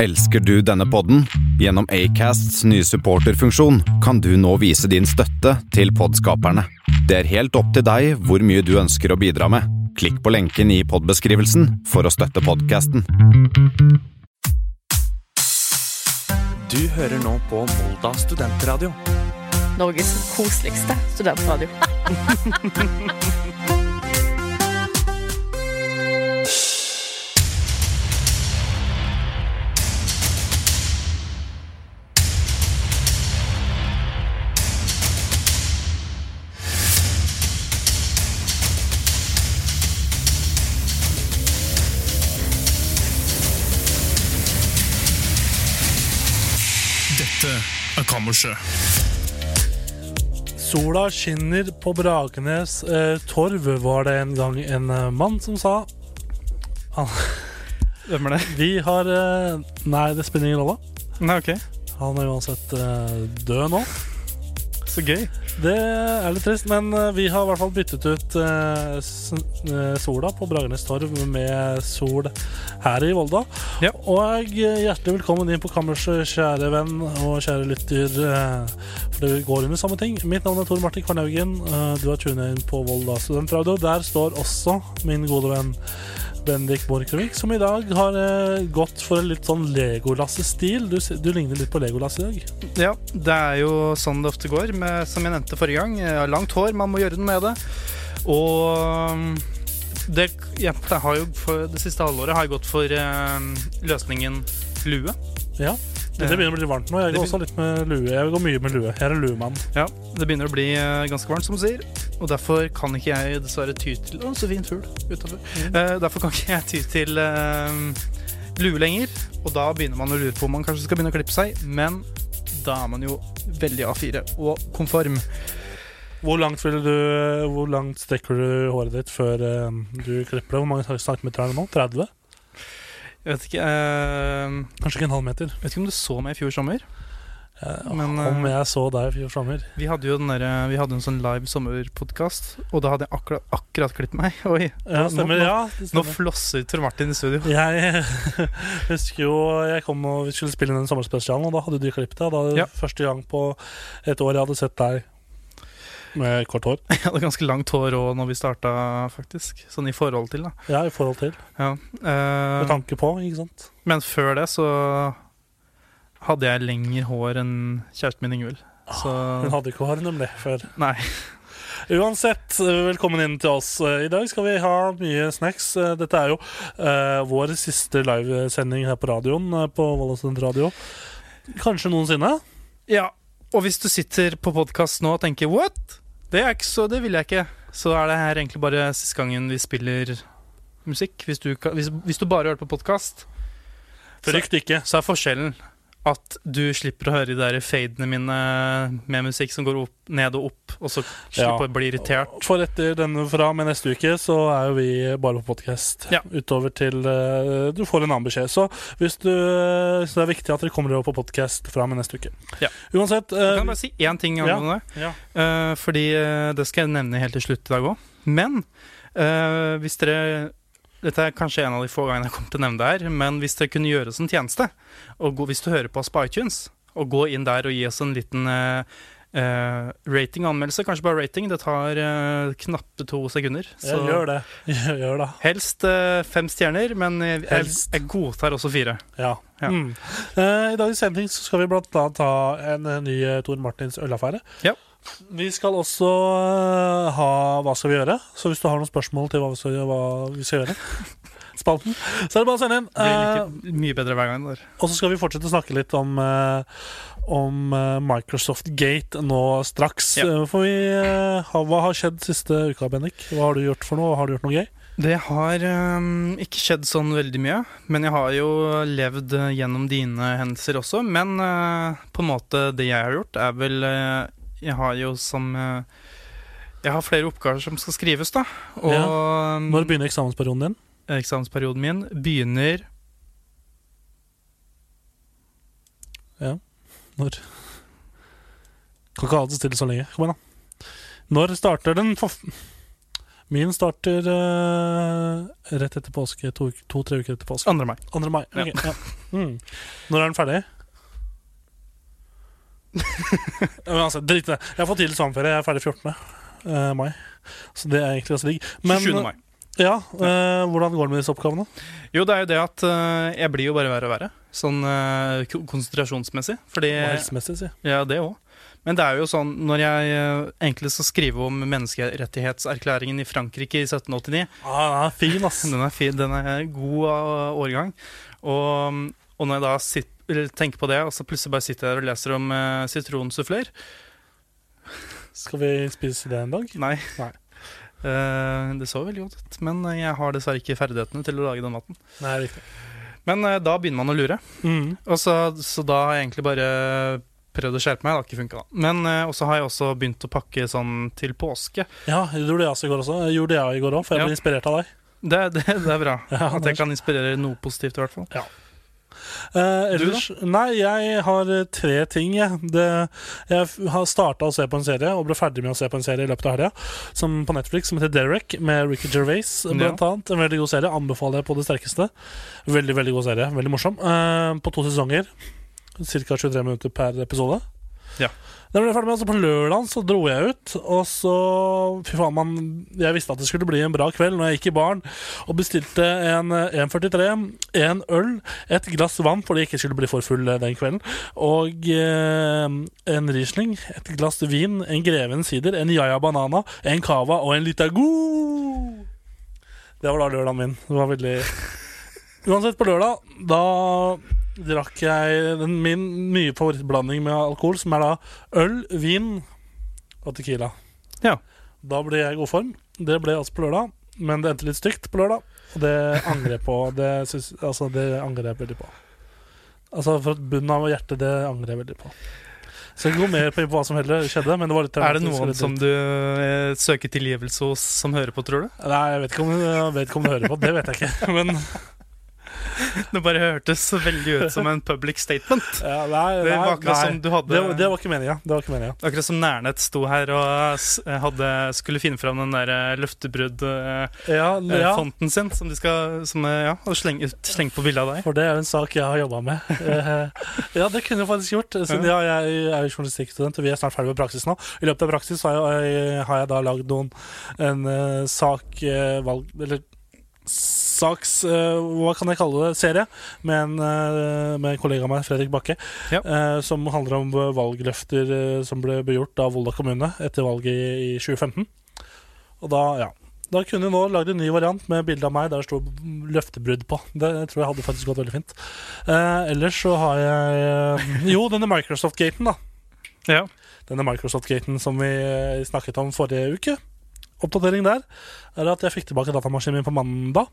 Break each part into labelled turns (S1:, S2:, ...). S1: Elsker du denne podden? Gjennom Acasts nye supporterfunksjon kan du nå vise din støtte til podskaperne. Det er helt opp til deg hvor mye du ønsker å bidra med. Klikk på lenken i podbeskrivelsen for å støtte podkasten.
S2: Du hører nå på Molda studentradio.
S3: Norges koseligste studentradio.
S4: Dette er Kammerset.
S5: Sola skinner på Bragenes eh, torv, var det en gang en eh, mann som sa. Han,
S6: Hvem er det?
S5: vi har eh, Nei, det spiller ingen rolle.
S6: Nei, ok.
S5: Han er uansett eh, død nå.
S6: Så gøy.
S5: Det er litt trist, men eh, vi har i hvert fall byttet ut eh, s- eh, sola på Bragenes torv med sol her i Volda.
S6: Ja.
S5: Og eh, hjertelig velkommen inn på kammerset, kjære venn og kjære lytter. eh, For det går under samme ting. Mitt navn er Tor Martin Kornhaugen. eh, Du har tunet inn på Volda studentradio. Der står også min gode venn Bendik Borchgrevink, som i dag har eh, gått for en litt sånn Legolasse-stil. Du, s- du ligner litt på Legolas i dag.
S6: Ja, det er jo sånn det ofte går, med, som jeg nevnte forrige gang. Jeg har langt hår, man må gjøre noe med det. Og um, det, ja, det, har jo for, det siste halvåret har jeg gått for um, løsningen lue.
S5: Ja. Det
S6: Eh,
S5: begynner å bli varmt nå. Jeg
S6: Det
S5: går også litt med lue. Jeg går mye med lue. Jeg er en luemann.
S6: Ja, Det begynner å bli eh, ganske varmt, som du sier. Og derfor kan ikke jeg dessverre ty til Å, så fin fugl utenfor.
S5: Mm.
S6: Eh, derfor kan ikke jeg ty til eh, lue lenger. Og da begynner man å lure på om man kanskje skal begynne å klippe seg. Men da er man jo veldig A4 og konform.
S5: Hvor langt, vil du, hvor langt strekker du håret ditt før eh, du klipper det? Hvor mange centimeter er det nå? 30?
S6: Jeg vet ikke eh,
S5: Kanskje ikke en halv meter.
S6: Vet ikke om du så meg i fjor sommer.
S5: Eh,
S6: Men, eh,
S5: Om jeg så deg i fjor sommer.
S6: Vi hadde jo den derre- vi hadde en sånn live sommerpodkast, og da hadde jeg akkurat, akkurat klippet meg. Oi,
S5: Ja,
S6: nå-
S5: stemmer,
S6: nå-
S5: ja. Det
S6: nå
S5: stemmer.
S6: flosser Tor Martin i studio.
S5: Jeg husker jo jeg kom og vi skulle spille inn den sommerspesialen, og da hadde du klippet deg. Da
S6: Ja.
S5: Første gang på et år jeg hadde sett deg med kort hår.
S6: Jeg hadde ganske langt hår òg når vi starta, faktisk. Sånn i forhold til, da.
S5: Ja, i forhold til.
S6: Ja. eh,
S5: Med tanke på, ikke sant.
S6: men før det så hadde jeg lengre hår enn kjæresten min Ingvild. Så
S5: Hun hadde ikke hår, nemlig, før.
S6: Nei.
S5: Uansett, velkommen inn til oss. Eh, I dag skal vi ha mye snacks. Dette er jo eh, vår siste livesending her på radioen, eh, på Vollåsund radio. Kanskje noensinne.
S6: Ja, og hvis du sitter på podkast nå og tenker 'what', det, er ikke så, det vil jeg ikke, så er det her egentlig bare siste gangen vi spiller musikk. Hvis du, ka- hvis, hvis du bare hørte på podkast,
S5: Frykt ikke.
S6: så er forskjellen at du slipper å høre de der fadene mine med musikk som går opp, ned og opp, og så
S5: Ja.
S6: slipper å bli irritert.
S5: For etter denne fra med neste uke, så er jo vi bare på podkast.
S6: Ja.
S5: Utover til eh, du får en annen beskjed. Så hvis du Så det er viktig at dere kommer dere på podkast fra med neste uke.
S6: Ja.
S5: Uansett eh,
S6: Jeg kan bare si én ting
S5: Ja.
S6: angående det.
S5: ja.
S6: Eh, fordi eh, det skal jeg nevne helt til slutt i dag òg. Men eh, hvis dere Dette er kanskje en av de få gangene jeg kommer til å nevne det her, men hvis dere kunne gjøre oss en tjeneste, og gå, hvis du hører på oss på iTunes, og gå inn der og gi oss en liten eh, eh, rating og anmeldelse, kanskje bare rating. Det tar eh, knappe to sekunder.
S5: Ja, gjør det. Gjør det.
S6: Helst eh, fem stjerner, men jeg, jeg,
S5: Helst.
S6: jeg godtar også fire.
S5: Ja.
S6: Ja.
S5: Mm. Eh, I dagens sending så skal vi blant annet ha en eh, ny eh, Tor Martins ølaffære.
S6: Ja.
S5: Vi skal også eh, ha Hva skal vi gjøre? Så hvis du har noen spørsmål til hva vi skal, hva vi skal gjøre, spalten, så er det bare å sende inn.
S6: Det
S5: Eh,
S6: blir like, mye bedre hver gang. Der.
S5: og så skal vi fortsette å snakke litt om, eh, om eh, Microsoft Gate nå straks.
S6: Ja.
S5: Eh, For vi, eh, har, hva har skjedd siste uka, Bennik? Hva har du gjort for noe? Har du gjort noe gøy?
S6: Det har ehm, ikke skjedd sånn veldig mye, men jeg har jo levd eh, gjennom dine hendelser også. Men eh, på en måte det jeg har gjort, er vel eh, Jeg har jo som eh, Jeg har flere oppgaver som skal skrives, da. Og ehm,
S5: Når begynner eksamensperioden din?
S6: eksamensperioden min begynner
S5: Når? Kan ikke ha det stille så lenge. Kom igjen, da. Når starter den for... Min starter eh, rett etter påske. To-tre uker etter påske.
S6: 2. mai.
S5: 2. mai.
S6: Ja.
S5: ok, ja. Mm. Når er den ferdig? Ja, Men altså, Drit i det. Jeg har fått tidlig sommerferie. Jeg er ferdig 14. eh, mai. Så det er egentlig ganske digg. Men
S6: 27. mai.
S5: ja, eh, hvordan går det med disse oppgavene?
S6: Jo, det er jo det at eh, jeg blir jo bare verre og verre. Sånn eh, ko- konsentrasjonsmessig. Fordi
S5: Og helsemessig, si.
S6: Ja, det òg. Men det er jo sånn, når jeg eh, egentlig skal skrive om menneskerettighetserklæringen i Frankrike i 1789
S5: Ah, den er fin, ass.
S6: Den er, fin, den er god av årgang. Og, og når jeg da sit, eller tenker på det, og så plutselig bare sitter jeg her og leser om eh, sitronsufflør
S5: Skal vi spise det en dag?
S6: Nei.
S5: Nei.
S6: Eh, det så veldig godt ut, men eh, jeg har dessverre ikke ferdighetene til å lage den maten.
S5: Nei, riktig.
S6: Men eh, da begynner man å lure.
S5: Mm.
S6: Og så, så da har jeg egentlig bare prøvd å skjerpe meg. Det har ikke funka, da. Men eh, og så har jeg også begynt å pakke sånn til påske.
S5: Ja, det gjorde jeg også i går også. Jeg gjorde jeg i går òg, for jeg
S6: Ja.
S5: ble inspirert av deg.
S6: Det, det, det er bra.
S5: Ja,
S6: At jeg kan inspirere noe positivt, i hvert fall.
S5: Eh,
S6: Du
S5: ellers, Nei, jeg har eh, tre ting. Jeg, det, jeg f- har starta å se på en serie, og ble ferdig med å se på en serie i løpet av helga, som- på Netflix, som heter Derek, med Ricky Gervais, eh, blant annet. En veldig god serie. Anbefaler jeg på det sterkeste. Veldig, veldig god serie. Veldig morsom. Eh, på to sesonger. Ca. 23 minutter per episode.
S6: Ja.
S5: Da ble jeg ferdig med, altså På lørdag så dro jeg ut, og så Fy faen, man, jeg visste at det skulle bli en bra kveld når jeg gikk i baren og bestilte en eh, 1,43, en øl, et glass vann fordi jeg ikke skulle bli for full eh, den kvelden, og eh, en Riesling, et glass vin, en Greven sider, en Jaja Banana, en Cava og en Litago. Det var da lørdagen min. Det var veldig Uansett, på lørdag, da drakk jeg den, min nye favorittblanding med alkohol, som er da øl, vin og tequila.
S6: Ja.
S5: Da ble jeg i god form. Det ble jeg også på lørdag, men det endte litt stygt på lørdag. Og det angrer jeg på. Det, syns, altså, det angrer jeg veldig på. Altså fra bunnen av hjertet, det angrer jeg veldig på. Så jeg går mer på hva som heller skjedde, men det var litt
S6: Er det
S5: traumatisk og
S6: noen
S5: litt
S6: som du eh, søker tilgivelse hos, som hører på, tror du?
S5: Nei, jeg vet ikke om, jeg vet ikke om du hører på. Det vet jeg ikke. Men
S6: Det bare hørtes veldig ut som en public statement.
S5: ja, nei,
S6: Det
S5: nei,
S6: var akkurat
S5: nei.
S6: som du hadde
S5: Det, var- det var ikke meninga. Det var ikke meninga.
S6: Akkurat som Nærnett sto her og eh, s- hadde, skulle finne fram den der eh, løftebrudd-fonten
S5: Ja, ja.
S6: eh, sin, som de skal som, eh, ja, og slenge, ut- slenge på bilde av deg.
S5: For det er jo en sak jeg har jobba med. Eh, ja, det kunne jeg faktisk gjort. Siden ja, jeg er jo journalistikkstudent, og vi er snart ferdig med praksis nå. I løpet av praksis har jeg, har jeg da lagd noen en eh, sak eh, valg, Eller saks... eh, hva kan jeg kalle det? Serie. Med en, eh, med en kollega av meg, Fredrik Bakke.
S6: Ja.
S5: eh, som handler om valgløfter eh, som ble begjort av Volda kommune etter valget i, i 2015. Og da, ja da kunne jeg nå lagd en ny variant med bilde av meg der det sto 'løftebrudd' på. Det tror jeg hadde faktisk gått veldig fint. Eh, ellers så har jeg eh, Jo, denne Microsoft-gaten, da.
S6: Ja.
S5: Denne Microsoft-gaten som vi eh, snakket om forrige uke. Oppdatering der er at jeg fikk tilbake datamaskinen min på mandag.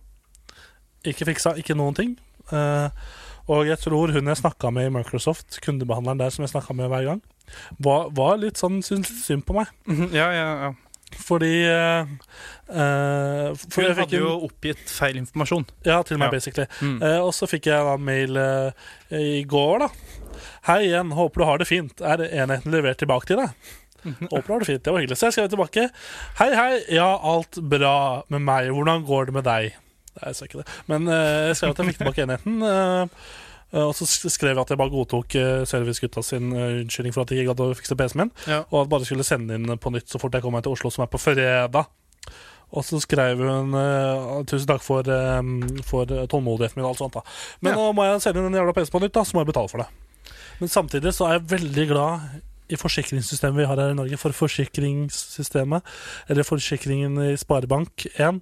S5: Ikke fiksa, ikke noen ting. Eh, og jeg tror hun jeg snakka med i Microsoft, kundebehandleren der som jeg snakka med hver gang, var, var litt sånn syns synd på meg.
S6: Mhm, ja, ja, ja.
S5: Fordi eh, eh, for
S6: Hun
S5: jeg fikk
S6: hadde
S5: en-
S6: jo oppgitt feil informasjon.
S5: ja, til meg,
S6: Ja.
S5: basically.
S6: Mm.
S5: Eh, og så fikk jeg da mail eh, i går, da. Hei igjen, håper du har det fint. Er enheten levert tilbake til deg? Håper du har det fint. Det var hyggelig. Så jeg skrev tilbake. Hei, hei. Ja, alt bra med meg. Hvordan går det med deg? Nei, jeg sa ikke det. Men eh, jeg skrev at jeg fikk tilbake enheten. eh, og så sk- skrev jeg at jeg bare godtok eh, servicegutta sin eh, unnskyldning for at jeg ikke gadd å fikse PC-en min,
S6: Ja.
S5: og at bare skulle sende inn på nytt så fort jeg kom meg til Oslo, som er på fredag. Og så skrev hun eh, 'tusen takk for, eh, for tålmodigheten min' og alt sånt. da Men
S6: Ja.
S5: nå må jeg sende inn en jævla PC på nytt, da, så må jeg betale for det. Men samtidig så er jeg veldig glad i forsikringssystemet vi har her i Norge. For forsikringssystemet, eller forsikringen i Sparebank1,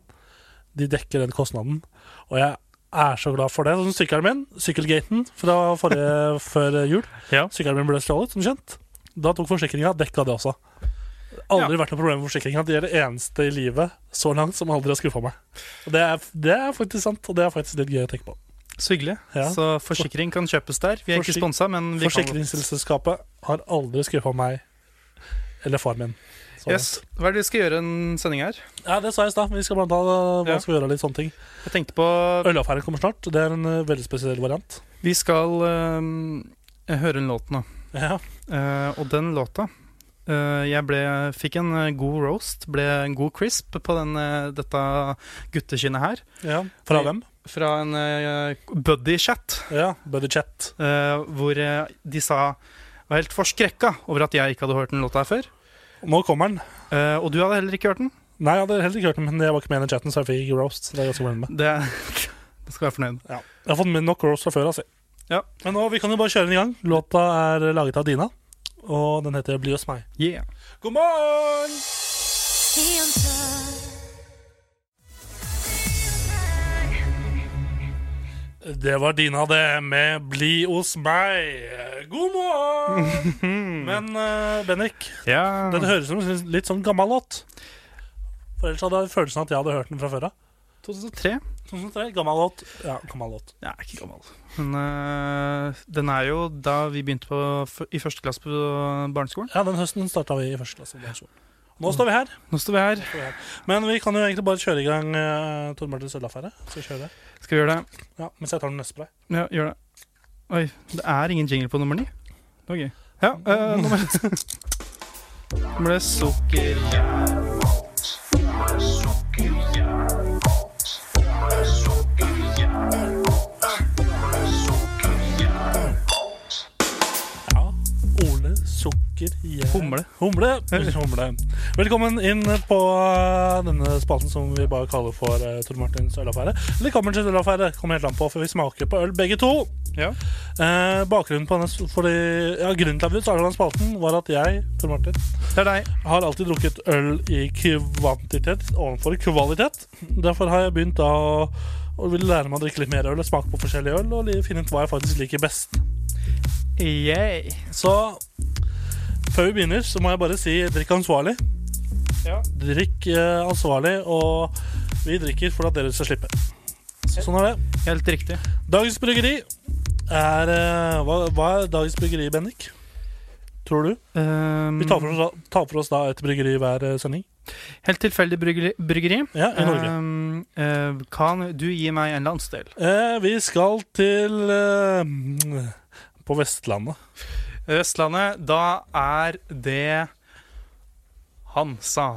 S5: de dekker den kostnaden. Og jeg er så glad for det. Sånn som sykkelen min, sykkelgaten fra forrige, før jul.
S6: Ja.
S5: Sykkelen min ble stjålet, som kjent. Da tok forsikringa dekka det også. Aldri vært noe problem med forsikringa. De er det eneste i livet så langt som aldri har skuffa meg. Og det er, det er faktisk sant, og det er faktisk litt gøy å tenke på.
S6: Så hyggelig.
S5: Ja.
S6: Så forsikring kan kjøpes der. Vi er ikke
S5: Forsik-
S6: sponsa, men vi kan
S5: Forsikringsselskapet har aldri skuffa meg eller far min. Så-
S6: Yes. Hva er det vi skal gjøre en sending her?
S5: Ja, det sa jeg i stad. Vi skal blant annet hva
S6: Ja.
S5: skal vi gjøre litt sånne ting.
S6: Jeg tenkte på
S5: Ølaffæren kommer snart. Det er en eh, veldig spesiell variant.
S6: Vi skal øhm, høre en låt nå.
S5: Ja.
S6: Eh, og den låta eh, jeg ble, fikk en eh, god roast, ble en god crisp på den, eh, dette guttekinnet her.
S5: Ja. Fra hvem?
S6: Fra en eh, buddy-chat,
S5: Ja, Buddy Chat.
S6: eh, hvor eh, de sa var helt forskrekka over at jeg ikke hadde hørt den låta her før.
S5: Nå kommer den.
S6: Eh, og du hadde heller ikke hørt den.
S5: Nei, jeg hadde heller ikke hørt den, men jeg var ikke med i den chatten, så jeg fikk ikke roast. Så det er jeg ganske fornøyd med.
S6: Det, det skal jeg være fornøyd med.
S5: Jeg har fått med nok roast fra før, altså.
S6: Ja.
S5: Men nå, vi kan jo bare kjøre den i gang. Låta er laget av Dina, og den heter Bli hos meg.
S6: Yeah.
S5: God morgen! Det var Dina, det, med 'Bli hos meg'. God morgen! Men eh, Bennik,
S6: Ja.
S5: den høres ut som en litt sånn gammel låt. For ellers hadde jeg følelsen at jeg hadde hørt den fra før av.
S6: 2003.
S5: 2003, Sånn gammel låt. Ja, gammel låt.
S6: Jeg er ikke gammel. Men eh, den er jo da vi begynte på, f- i første klasse på barneskolen.
S5: Ja, den høsten starta vi i første klasse. på barneskolen. Nå står vi her.
S6: Nå står vi her.
S5: Men vi kan jo egentlig bare kjøre i gang uh, Tor Martin Sølvaffære. Så kjører jeg.
S6: Skal vi gjøre det?
S5: Ja, mens jeg tar den neste på deg.
S6: Ja, gjør det. Oi, det er ingen jingle på nummer ni. Det var gøy. Ja, uh, nummer Nå ble det sukker.
S5: Ja. Ole Sukker Jern.
S6: Humle.
S5: Humle. Humle. Velkommen inn på eh, denne spalten som vi bare kaller for uh, Tor Martins ølaffære. Eller Kammerens ølaffære. Kommer helt an på, for vi smaker på øl begge to.
S6: Ja.
S5: Eh, bakgrunnen på denne, s- fordi, ja, Grunnen til at vi startet den spalten, var at jeg Tor Martin,
S6: Det er deg.
S5: har alltid drukket øl i kvantitet overfor kvalitet. Derfor har jeg begynt da å, å ville lære meg å drikke litt mer øl og smake på forskjellig øl og li- finne ut hva jeg faktisk liker best.
S6: Yay.
S5: Så før vi begynner, så må jeg bare si drikk ansvarlig.
S6: Ja.
S5: Drikk eh, ansvarlig, og vi drikker for at dere skal slippe. Så, sånn er det.
S6: Helt riktig.
S5: Dagens bryggeri er eh, hva, hva er dagens bryggeri, Bendik? Tror du?
S6: Ehm,
S5: Vi tar for oss, da- tar for oss da et bryggeri hver eh, sending.
S6: Ehm, helt tilfeldig bryggeri. bryggeri.
S5: Ja, i Norge.
S6: Ehm, eh, kan du gi meg en landsdel?
S5: Eh, vi skal til eh, mm, På Vestlandet.
S6: Østlandet, da er det Hansa.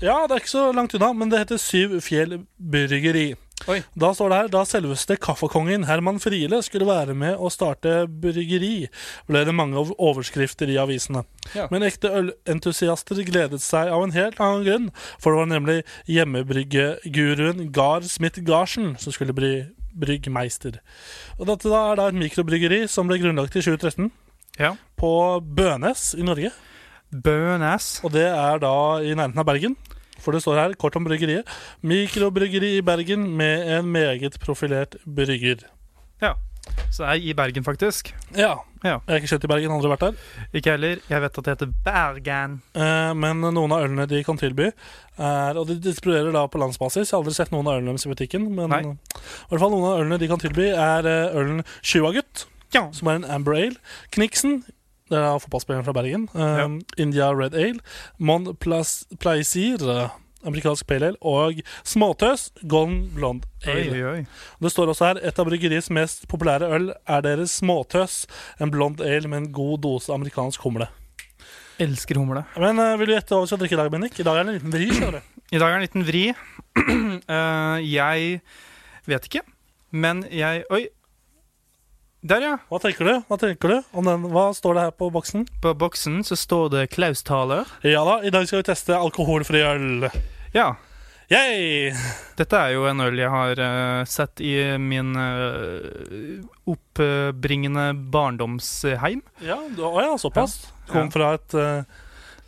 S5: Ja, det er ikke så langt unna, men det heter Syv Fjell Bryggeri.
S6: Oi.
S5: Da står det her da selveste kaffekongen Herman Friele skulle være med å starte bryggeri, ble det mange ov- overskrifter i avisene.
S6: Ja.
S5: Men ekte ølentusiaster gledet seg av en helt annen grunn, for det var nemlig hjemmebryggeguruen Gahr Smith Garsen som skulle bli bryggmeister. Og dette da er da et mikrobryggeri som ble grunnlagt i 2013.
S6: Ja.
S5: på Bønes i Norge.
S6: Bønes.
S5: Og det er da i nærheten av Bergen. For det står her kort om bryggeriet. Mikrobryggeri i Bergen med en meget profilert brygger.
S6: Så det er i Bergen, faktisk.
S5: Ja.
S6: Ja.
S5: Jeg har ikke kjøpt i Bergen, aldri vært der.
S6: Ikke heller. Jeg vet at det heter Bergen.
S5: Eh, Men noen av ølene de kan tilby, er, og de distribuerer da på landsbasis Jeg har aldri sett noen av ølene deres i butikken, men eh,
S6: Nei.
S5: i hvert fall noen av ølene de kan tilby, er eh, ølen Sjuagutt,
S6: Ja.
S5: som er en Amber Ale. Kniksen, det er da fotballspilleren fra Bergen. eh,
S6: Ja.
S5: India Red Ale. Mon Plas- Plaisir, eh, amerikansk pale ale. Og Småtøs, Golden Blonde Ale.
S6: Oi, oi.
S5: Det står også her et av bryggeriets mest populære øl er deres Småtøs, en blond ale med en god dose amerikansk humle.
S6: Elsker humle.
S5: Men eh, vil du gjette hva vi skal drikke i dag, Bennik? I dag er det en liten vri. skjønner du.
S6: I dag er det en liten vri. Eh, jeg vet ikke, men jeg Oi. Der, ja.
S5: Hva tenker du? Hva tenker du om den? Hva står det her på boksen?
S6: På boksen så står det Klaus Thaler.
S5: Ja da, i dag skal vi teste alkoholfri øl.
S6: Ja.
S5: Yay!
S6: Dette er jo en øl jeg har eh, sett i min eh, oppbringende barndomsheim.
S5: Ja, du, å ja, såpass. Kom
S6: Ja.
S5: fra et, eh,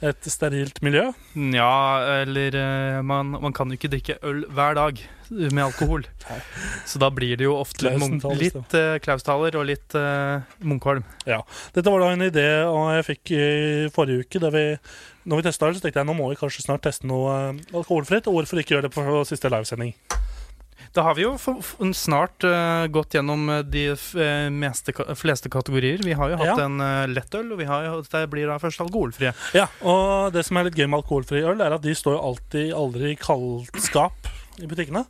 S5: et sterilt miljø.
S6: Ja, eller eh, man, man kan jo ikke drikke øl hver dag med alkohol.
S5: Nei.
S6: Så da blir det jo ofte litt munk-
S5: Klausenthaler,
S6: litt eh, Klaustaler og litt eh, Munkholm.
S5: Dette var da en idé og jeg fikk i forrige uke. Da vi, når vi testa øl, så tenkte jeg nå må vi kanskje snart teste noe eh, alkoholfritt. Og hvorfor ikke gjøre det på siste livesending?
S6: Da har vi jo f f snart eh, gått gjennom eh, de f eh, meste, ka- fleste kategorier. Vi har jo hatt
S5: Ja.
S6: en eh, lettøl, og vi har jo, det blir da først alkoholfrie.
S5: Ja, og det som er litt gøy med alkoholfri øl, er at de står jo alltid aldri i kaldskap i butikkene.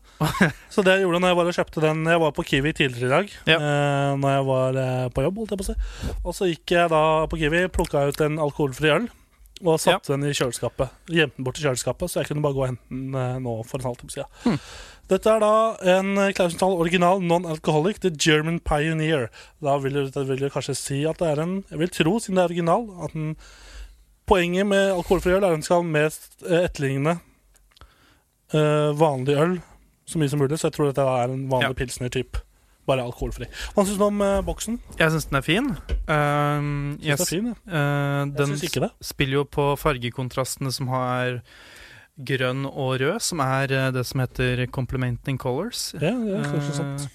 S5: Så det jeg gjorde når jeg var og kjøpte den Jeg var på Kiwi tidligere i dag.
S6: Ja.
S5: Eh, når jeg var eh, på jobb, holdt jeg på å si. Og så gikk jeg da på Kiwi, plukka ut en alkoholfri øl. Og satte den i kjøleskapet. Gjemte den bort i kjøleskapet, så jeg kunne bare gå og hente den eh, nå for en halvtime siden. Dette er da en eh, Klausenthal original non-alcoholic The German Pioneer. Da vil jeg, vil jeg kanskje si at det er en Jeg vil tro, siden det er original, at den Poenget med alkoholfri øl er at den skal mest eh, etterligne eh, vanlig øl så mye som mulig, så jeg tror dette er en vanlig
S6: Ja.
S5: pilsner-type. Bare alkoholfri. Hva syns du om eh, boksen?
S6: Jeg syns den er fin. Ehm,
S5: Synes
S6: jeg
S5: det er fin, ja.
S6: Eh, den
S5: synes ikke det.
S6: s- spiller jo på fargekontrastene som har grønn og rød, som er eh, det som heter complementing colors.
S5: Ja, det er kanskje sant.
S6: Eh,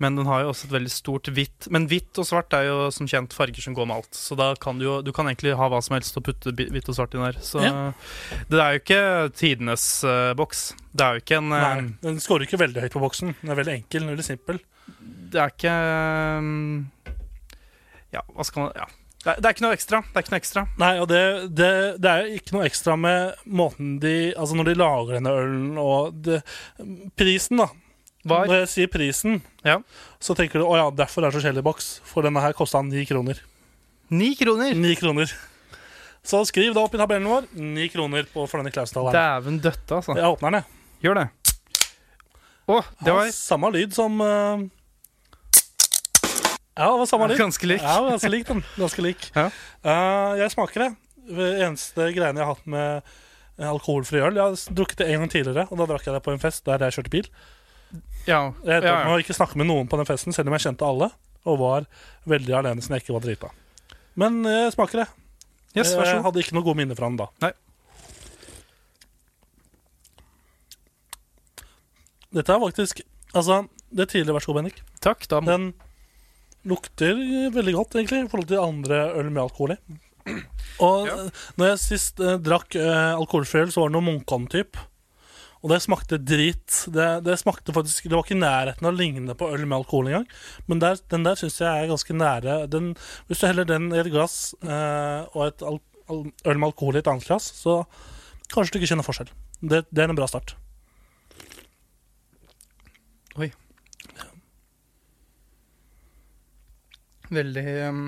S6: Men den har jo også et veldig stort hvitt. Men hvitt og svart er jo som kjent farger som går med alt. Så da kan du jo Du kan egentlig ha hva som helst og putte bi- hvitt og svart inn der. Så det er jo ikke tidenes eh, boks. Det er jo ikke en eh,
S5: Nei, den scorer ikke veldig høyt på boksen. Den er veldig enkel, veldig simpel.
S6: Det er ikke um, Ja, hva skal man Ja. Det er, det er ikke noe ekstra. Det er ikke noe ekstra.
S5: Nei, og det, det, det er jo ikke noe ekstra med måten de Altså når de lager denne ølen og det, Prisen, da.
S6: Var
S5: Når jeg sier prisen,
S6: Ja.
S5: så tenker du å ja, derfor er det så kjedelig boks. For denne her kosta ni kroner.
S6: ni kroner!
S5: Ni kroner. Så skriv da opp i tabellen vår ni kroner på for denne Klausdal her.
S6: Dæven døtte, altså.
S5: Jeg åpner den, jeg.
S6: Gjør det. Å, det
S5: Har
S6: var
S5: Samme lyd som eh, Ja, det var samme lyd.
S6: ganske likt.
S5: Ja, altså. ganske lik den. Ganske lik.
S6: Ja.
S5: Eh, jeg smaker det. Det eneste greiene jeg har hatt med eh, alkoholfri øl Jeg har s- drukket det en gang tidligere, og da drakk jeg det på en fest der jeg kjørte bil.
S6: Ja,
S5: Jeg endte
S6: ja,
S5: opp med å ikke snakke med noen på den festen, selv om jeg kjente alle, og var veldig alene siden jeg ikke var drita. Men eh, jeg smaker det.
S6: ja. Yes, vær
S5: jeg
S6: så god.
S5: Eh, hadde ikke noe gode minner fra den da.
S6: Nei.
S5: Dette er faktisk Altså, det er tidlig, vær så god, Bennik.
S6: Takk. Da må
S5: Den lukter veldig godt, egentlig, i forhold til andre øl med alkohol i. Og
S6: Ja.
S5: eh, når jeg sist eh, drakk eh, alkoholfri øl, så var det noe Munkholm-typ. Og det smakte drit. Det, det smakte faktisk Det var ikke i nærheten av å ligne på øl med alkohol engang. Men der, den der syns jeg er ganske nære. Den, hvis du heller den i et glass eh, og et al al øl med alkohol i et annet glass, så kanskje du ikke kjenner forskjell. Det, det er en bra start.
S6: Veldig um,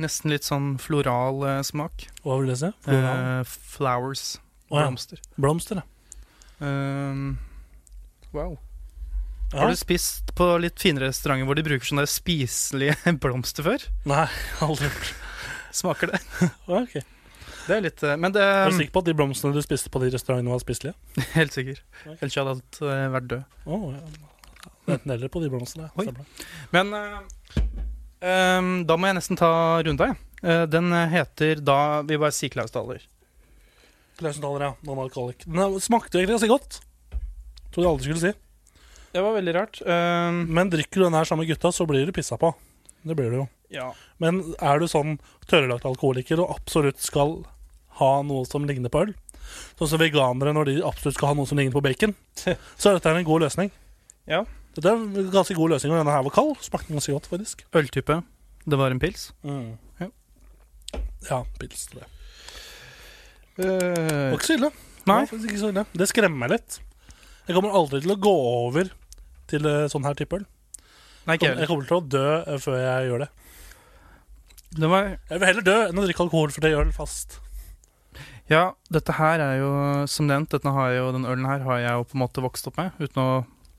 S6: Nesten litt sånn floral eh, smak.
S5: Hva vil det si? Floral.
S6: Eh, flowers.
S5: Å ja.
S6: Blomster.
S5: Blomster, ja.
S6: Um, wow.
S5: ja.
S6: Har du spist på litt finere restauranter hvor de bruker sånne spiselige blomster før?
S5: Nei, aldri.
S6: Smaker det?
S5: Ja, ok.
S6: Det er litt eh, Men det
S5: Er du sikker på at de blomstene du spiste på de restaurantene, var spiselige?
S6: Helt sikker.
S5: Oi.
S6: Ellers hadde jeg alt, eh, vært død.
S5: Oh, ja. Enten eller på de blomstene.
S6: Oi.
S5: stemmer det.
S6: Men eh, ehm, da må jeg nesten ta runda, jeg. Eh, den heter da Vi bare sier Klausdaler.
S5: Klausenthaler, ja. Non-alkoholik. Den er- eh, smakte egentlig ganske godt. Tror jeg aldri skulle si.
S6: Det var veldig rart. Ehm,
S5: Men drikker du den her sammen med gutta, så blir du pissa på. Det blir du jo.
S6: ja.
S5: Men er du sånn tørrlagt alkoholiker og absolutt skal ha noe som ligner på øl, sånn som veganere når de absolutt skal ha noe som ligner på bacon, så er dette en god løsning.
S6: Ja.
S5: Dette er en ganske god løsning, og denne her var kald. Smakte ganske godt, faktisk.
S6: Øltype. Det var en pils. Ja.
S5: Ja, pils tror jeg. Det
S6: Uh,
S5: var ikke så ille.
S6: Nei.
S5: Det, var faktisk ikke så ille. det skremmer meg litt. Jeg kommer aldri til å gå over til eh, sånn her type øl.
S6: Nei, ikke
S5: Jeg
S6: heller.
S5: kommer til å dø eh, før jeg gjør det.
S6: Det var
S5: Jeg vil heller dø enn å drikke alkoholfri øl fast.
S6: Ja, dette her er jo som nevnt, dette har jeg jo, den ølen her har jeg jo på en måte vokst opp med. Uten å,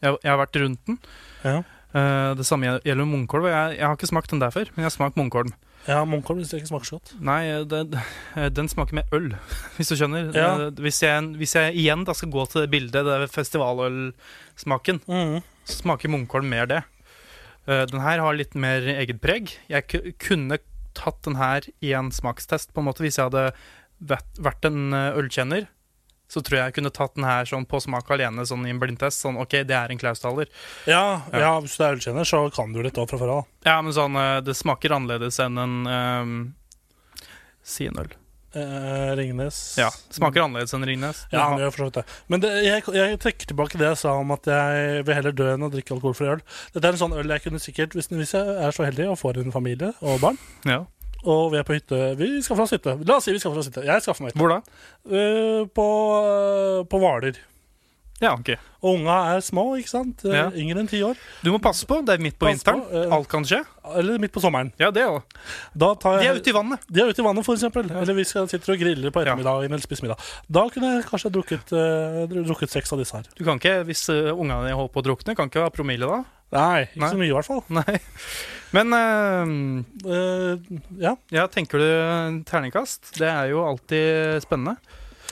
S6: jeg, jeg har vært rundt den.
S5: Ja.
S6: Eh, det samme gjel- gjelder munkholm. og Jeg, jeg har ikke smakt den der før, men jeg har smakt munkholm.
S5: Ja, Munkholm syns jeg ikke smaker så godt.
S6: Nei, eh, den, den smaker med øl, hvis du skjønner.
S5: Ja.
S6: Eh, Hvis, jeg, hvis jeg igjen da skal gå til det bildet, det er festivalølsmaken, så smaker munkholm mer det. Eh, Den her har litt mer eget preg. Jeg ku- kunne tatt den her i en smakstest, på en måte. Hvis jeg hadde vært vært en eh, ølkjenner, så tror jeg jeg kunne tatt den her sånn på smak alene, sånn i en blindtest. Sånn, OK, det er en Klausdaler.
S5: Ja, ja. hvis du er ølkjenner, så kan du litt da fra før av.
S6: Ja, men sånn, eh, det smaker annerledes enn en eh, Si en øl.
S5: Eh, Ringnes
S6: Ja, smaker annerledes enn Ringnes. Den
S5: Ja,
S6: har-
S5: han gjør for så vidt det. Men det, jeg, jeg trekker tilbake det jeg sa om at jeg vil heller dø enn å drikke alkoholfri øl. Dette er en sånn øl jeg kunne sikkert, hvis, hvis jeg er så heldig og får en familie og barn,
S6: Ja.
S5: og vi er på hytte Vi skal fra oss hytte. Eh, La oss si vi skal fra oss hytte. Jeg skaffer meg hytte.
S6: Hvor da?
S5: Eh, på, eh, på Hvaler.
S6: Ja, ok.
S5: Og unga er små, ikke sant? Eh,
S6: Ja.
S5: Yngre enn ti år.
S6: Du må passe på. Det er midt på
S5: Pass på,
S6: vinteren.
S5: eh,
S6: Alt kan skje.
S5: Eller midt på sommeren.
S6: Ja, det òg.
S5: Da tar
S6: De
S5: jeg,
S6: er ute i vannet.
S5: de er ute i vannet, for eksempel. Eller vi skal sitter og griller på ettermiddagen eller spiser middag. Da kunne jeg kanskje drukket, eh, dru- drukket seks av disse her.
S6: Du kan ikke, Hvis uh, ungene dine holder på å drukne, kan ikke ha promille da.
S5: Nei, ikke
S6: Nei.
S5: så mye i hvert fall.
S6: Nei. Men eh,
S5: Eh, ja.
S6: ja, tenker du terningkast? Det er jo alltid spennende.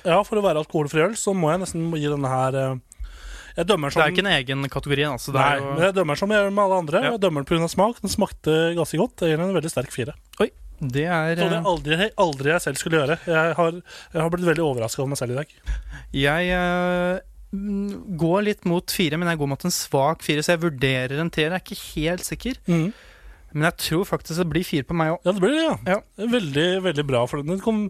S5: ja, for å være alkoholfri øl, så må jeg nesten gi denne her eh, Jeg dømmer
S6: Det
S5: som
S6: er ikke en egen kategori. Altså. Det
S5: Sånn- Nei,
S6: er
S5: men
S6: jo,
S5: jeg dømmer som jeg gjør med alle andre.
S6: Ja.
S5: Jeg dømmer den pga. smak. Den smakte ganske godt. Jeg gir den en veldig sterk fire.
S6: det er
S5: Trodde jeg
S6: eh,
S5: aldri, aldri jeg selv skulle gjøre. Jeg har, jeg har blitt veldig overraska over meg selv i dag.
S6: Jeg eh, mm, går litt mot fire, men jeg går mot en svak fire, så jeg vurderer en treer. Jeg er ikke helt sikker, men jeg tror faktisk det blir fire på meg òg.
S5: Ja, det blir det, ja.
S6: Ja.
S5: Det er Veldig, veldig bra for den. den. Kom,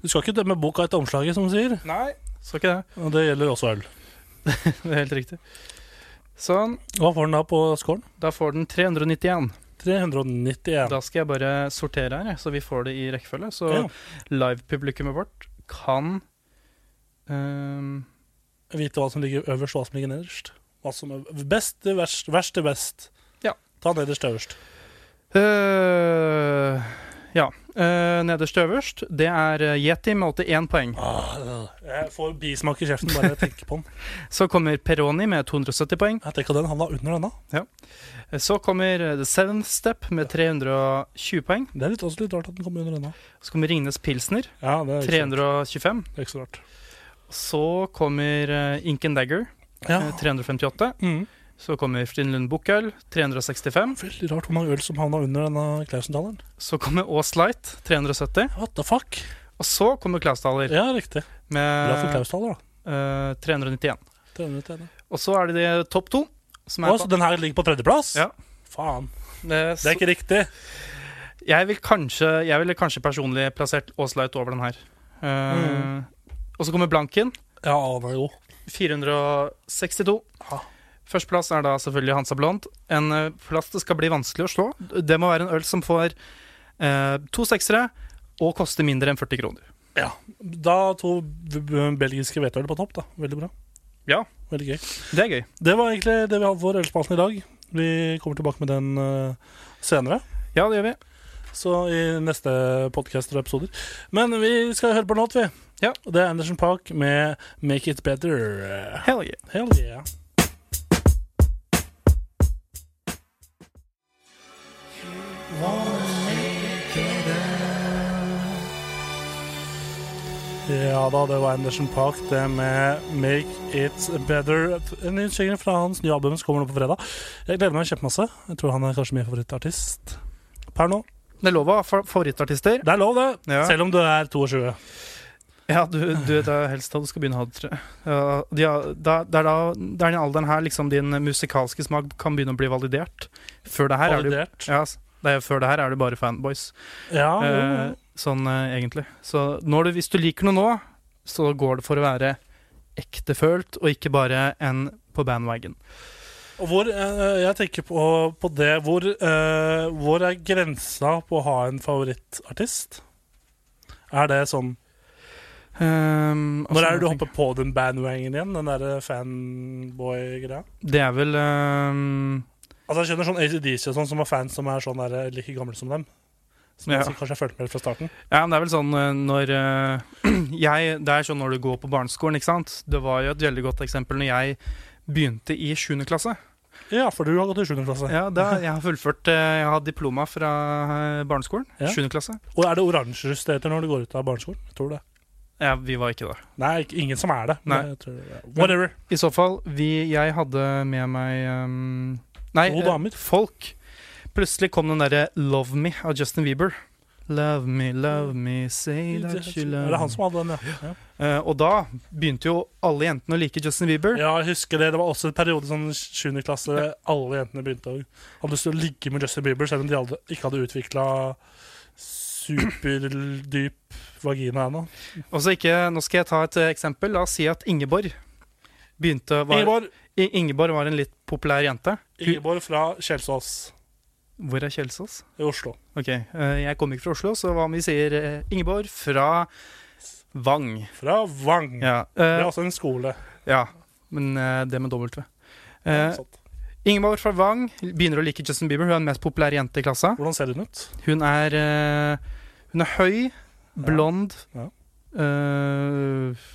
S5: du skal ikke dømme boka etter omslaget, som du sier.
S6: Nei, så ikke det.
S5: Og det gjelder også øl.
S6: Det er helt riktig. Sånn.
S5: Hva får den da på scoren?
S6: Da får den 391.
S5: 391.
S6: Da skal jeg bare sortere her, jeg, så vi får det i rekkefølge. Så
S5: Ja.
S6: live-publikummet vårt kan ehm,
S5: Vite hva som ligger øverst, hva som ligger nederst. Hva som er best til verst, verst til best.
S6: Ja.
S5: Ta nederst til øverst.
S6: øh, Ja. øh, nederst til øverst, det er øh, Yeti med 81 poeng.
S5: Ah, Jeg får bismak i kjeften bare jeg tenker på den.
S6: Så kommer Peroni med 270 poeng.
S5: Jeg tenker at den havna under denne.
S6: Så kommer øh, The Seventh Step med 320 poeng.
S5: Det er litt, også litt rart at den kommer under denne.
S6: Så kommer Ringnes Pilsner,
S5: Ja, det er ikke så-
S6: 325.
S5: det er ikke så rart.
S6: Så kommer øh, Ink and Dagger,
S5: Ja.
S6: øh, 358.
S5: Mm.
S6: Så kommer Fridtjoflund Bukkøl, 365.
S5: Veldig rart hvor mange øl som havna under denne Klausen-talleren.
S6: Så kommer Aas Light, 370.
S5: What the fuck?
S6: Og så kommer Klausdaler
S5: Ja, riktig. Bra for
S6: med
S5: Klaus-taller, da.
S6: eh, 391.
S5: 301.
S6: Og så er det de topp to. Som er
S5: Å, så den her ligger på tredjeplass?
S6: Ja.
S5: Faen.
S6: på- Eh,
S5: Det
S6: så
S5: er ikke riktig.
S6: jeg, vil kanskje, jeg ville kanskje personlig plassert Aas Light over den her. Eh, Og så kommer Blanken,
S5: Ja, han er jo
S6: 462.
S5: Ja.
S6: Førsteplass er da selvfølgelig Hansa Blond. En eh, plass det skal bli vanskelig å slå. Det må være en øl som får eh, to seksere og koster mindre enn 40 kroner.
S5: Da to b- b- belgiske hvetøl på topp, da. Veldig bra.
S6: Ja.
S5: Veldig gøy.
S6: Det er gøy.
S5: Det var egentlig det vi hadde for Ølspalten i dag. Vi kommer tilbake med den eh, senere.
S6: Ja, det gjør vi.
S5: Så i neste podcaster og episoder. Men vi skal høre på en låt, vi.
S6: Ja.
S5: Og Det er Anderson Park med 'Make It Better'.
S6: Hell yeah.
S5: Hell yeah. Ja da, det var Anderson Park, det med 'Make It Better'. En ny singel fra hans nye album som kommer nå på fredag. Jeg gleder meg kjempemasse. Jeg tror han er kanskje min favorittartist per nå.
S6: Det er lov å ha fa- favorittartister.
S5: Det er lov, det!
S6: Ja.
S5: Selv om du er 22.
S6: Ja, du, du vet da helst da du skal begynne å ha det, tror jeg. Ja, de har- da, det er da det er den alderen her liksom din musikalske smak kan begynne å bli validert. Før det her er du
S5: Validert.
S6: ja, ass. det er, Før det her er du bare fanboys.
S5: Ah, Ja, jo, jo.
S6: eh, sånn eh, egentlig. Så når du, hvis du liker noe nå, så går det for å være ektefølt, og ikke bare en på bandwagon.
S5: Og hvor, eh, jeg tenker på, på det hvor, eh, hvor er grensa på å ha en favorittartist? Er det sånn
S6: Um,
S5: Når er det du hopper på den bandwagen igjen? Den derre fanboy-greia?
S6: Det er vel um,
S5: Altså Jeg skjønner sånn ACDC og sånn som har fans som er sånn der, like gamle som dem. Som
S6: Ja.
S5: som kanskje har fulgt med fra starten.
S6: Ja, men det er vel sånn eh, når eh, jeg, Det er sånn når du går på barneskolen, ikke sant? Det var jo et veldig godt eksempel når jeg begynte i 7. klasse.
S5: Ja, for du har gått i 7. klasse.
S6: Ja, da, jeg har fullført eh, Jeg har diploma fra eh, barneskolen.
S5: Ja.
S6: 7. klasse.
S5: Og er det oransjeruss det heter når du går ut av barneskolen? Tror du det?
S6: Ja, vi var ikke der.
S5: Nei, ikke- ingen som er det. men
S6: Nei.
S5: jeg tror det er- Whatever.
S6: I så fall, vi, jeg hadde med meg ehm, Nei,
S5: To
S6: eh,
S5: damer.
S6: folk. Plutselig kom den derre 'Love Me' av Justin Bieber. Love me, love me, say
S5: Er
S6: that you love
S5: det han
S6: me.
S5: som hadde den, ja? ja.
S6: Eh, og da begynte jo alle jentene å like Justin Bieber.
S5: Ja, jeg husker det. Det var også en periode sånn 7. klasse alle jentene begynte å hadde lyst til å ligge med Justin Bieber, selv om de aldri, ikke hadde utvikla superdyp vagina ennå.
S6: Og så ikke, Nå skal jeg ta et eh, eksempel. La oss si at Ingeborg begynte var, Ingeborg.
S5: Ingeborg,
S6: Ingeborg var en litt populær jente. Hun,
S5: Ingeborg fra Kjelsås
S6: hvor er Kjelsås?
S5: i Oslo.
S6: Ok, eh, Jeg kommer ikke fra Oslo, så hva om vi sier eh, Ingeborg fra Vang?
S5: Fra Vang.
S6: Ja.
S5: Det
S6: eh,
S5: er også en skole.
S6: ja. men eh, det med W.
S5: Sånn
S6: Eh, Ingeborg fra Vang begynner å like Justin Bieber. Hun er den mest populære jente i klassa.
S5: Hvordan ser hun ut?
S6: Hun er, eh, hun er høy, blond
S5: Ja.
S6: eh,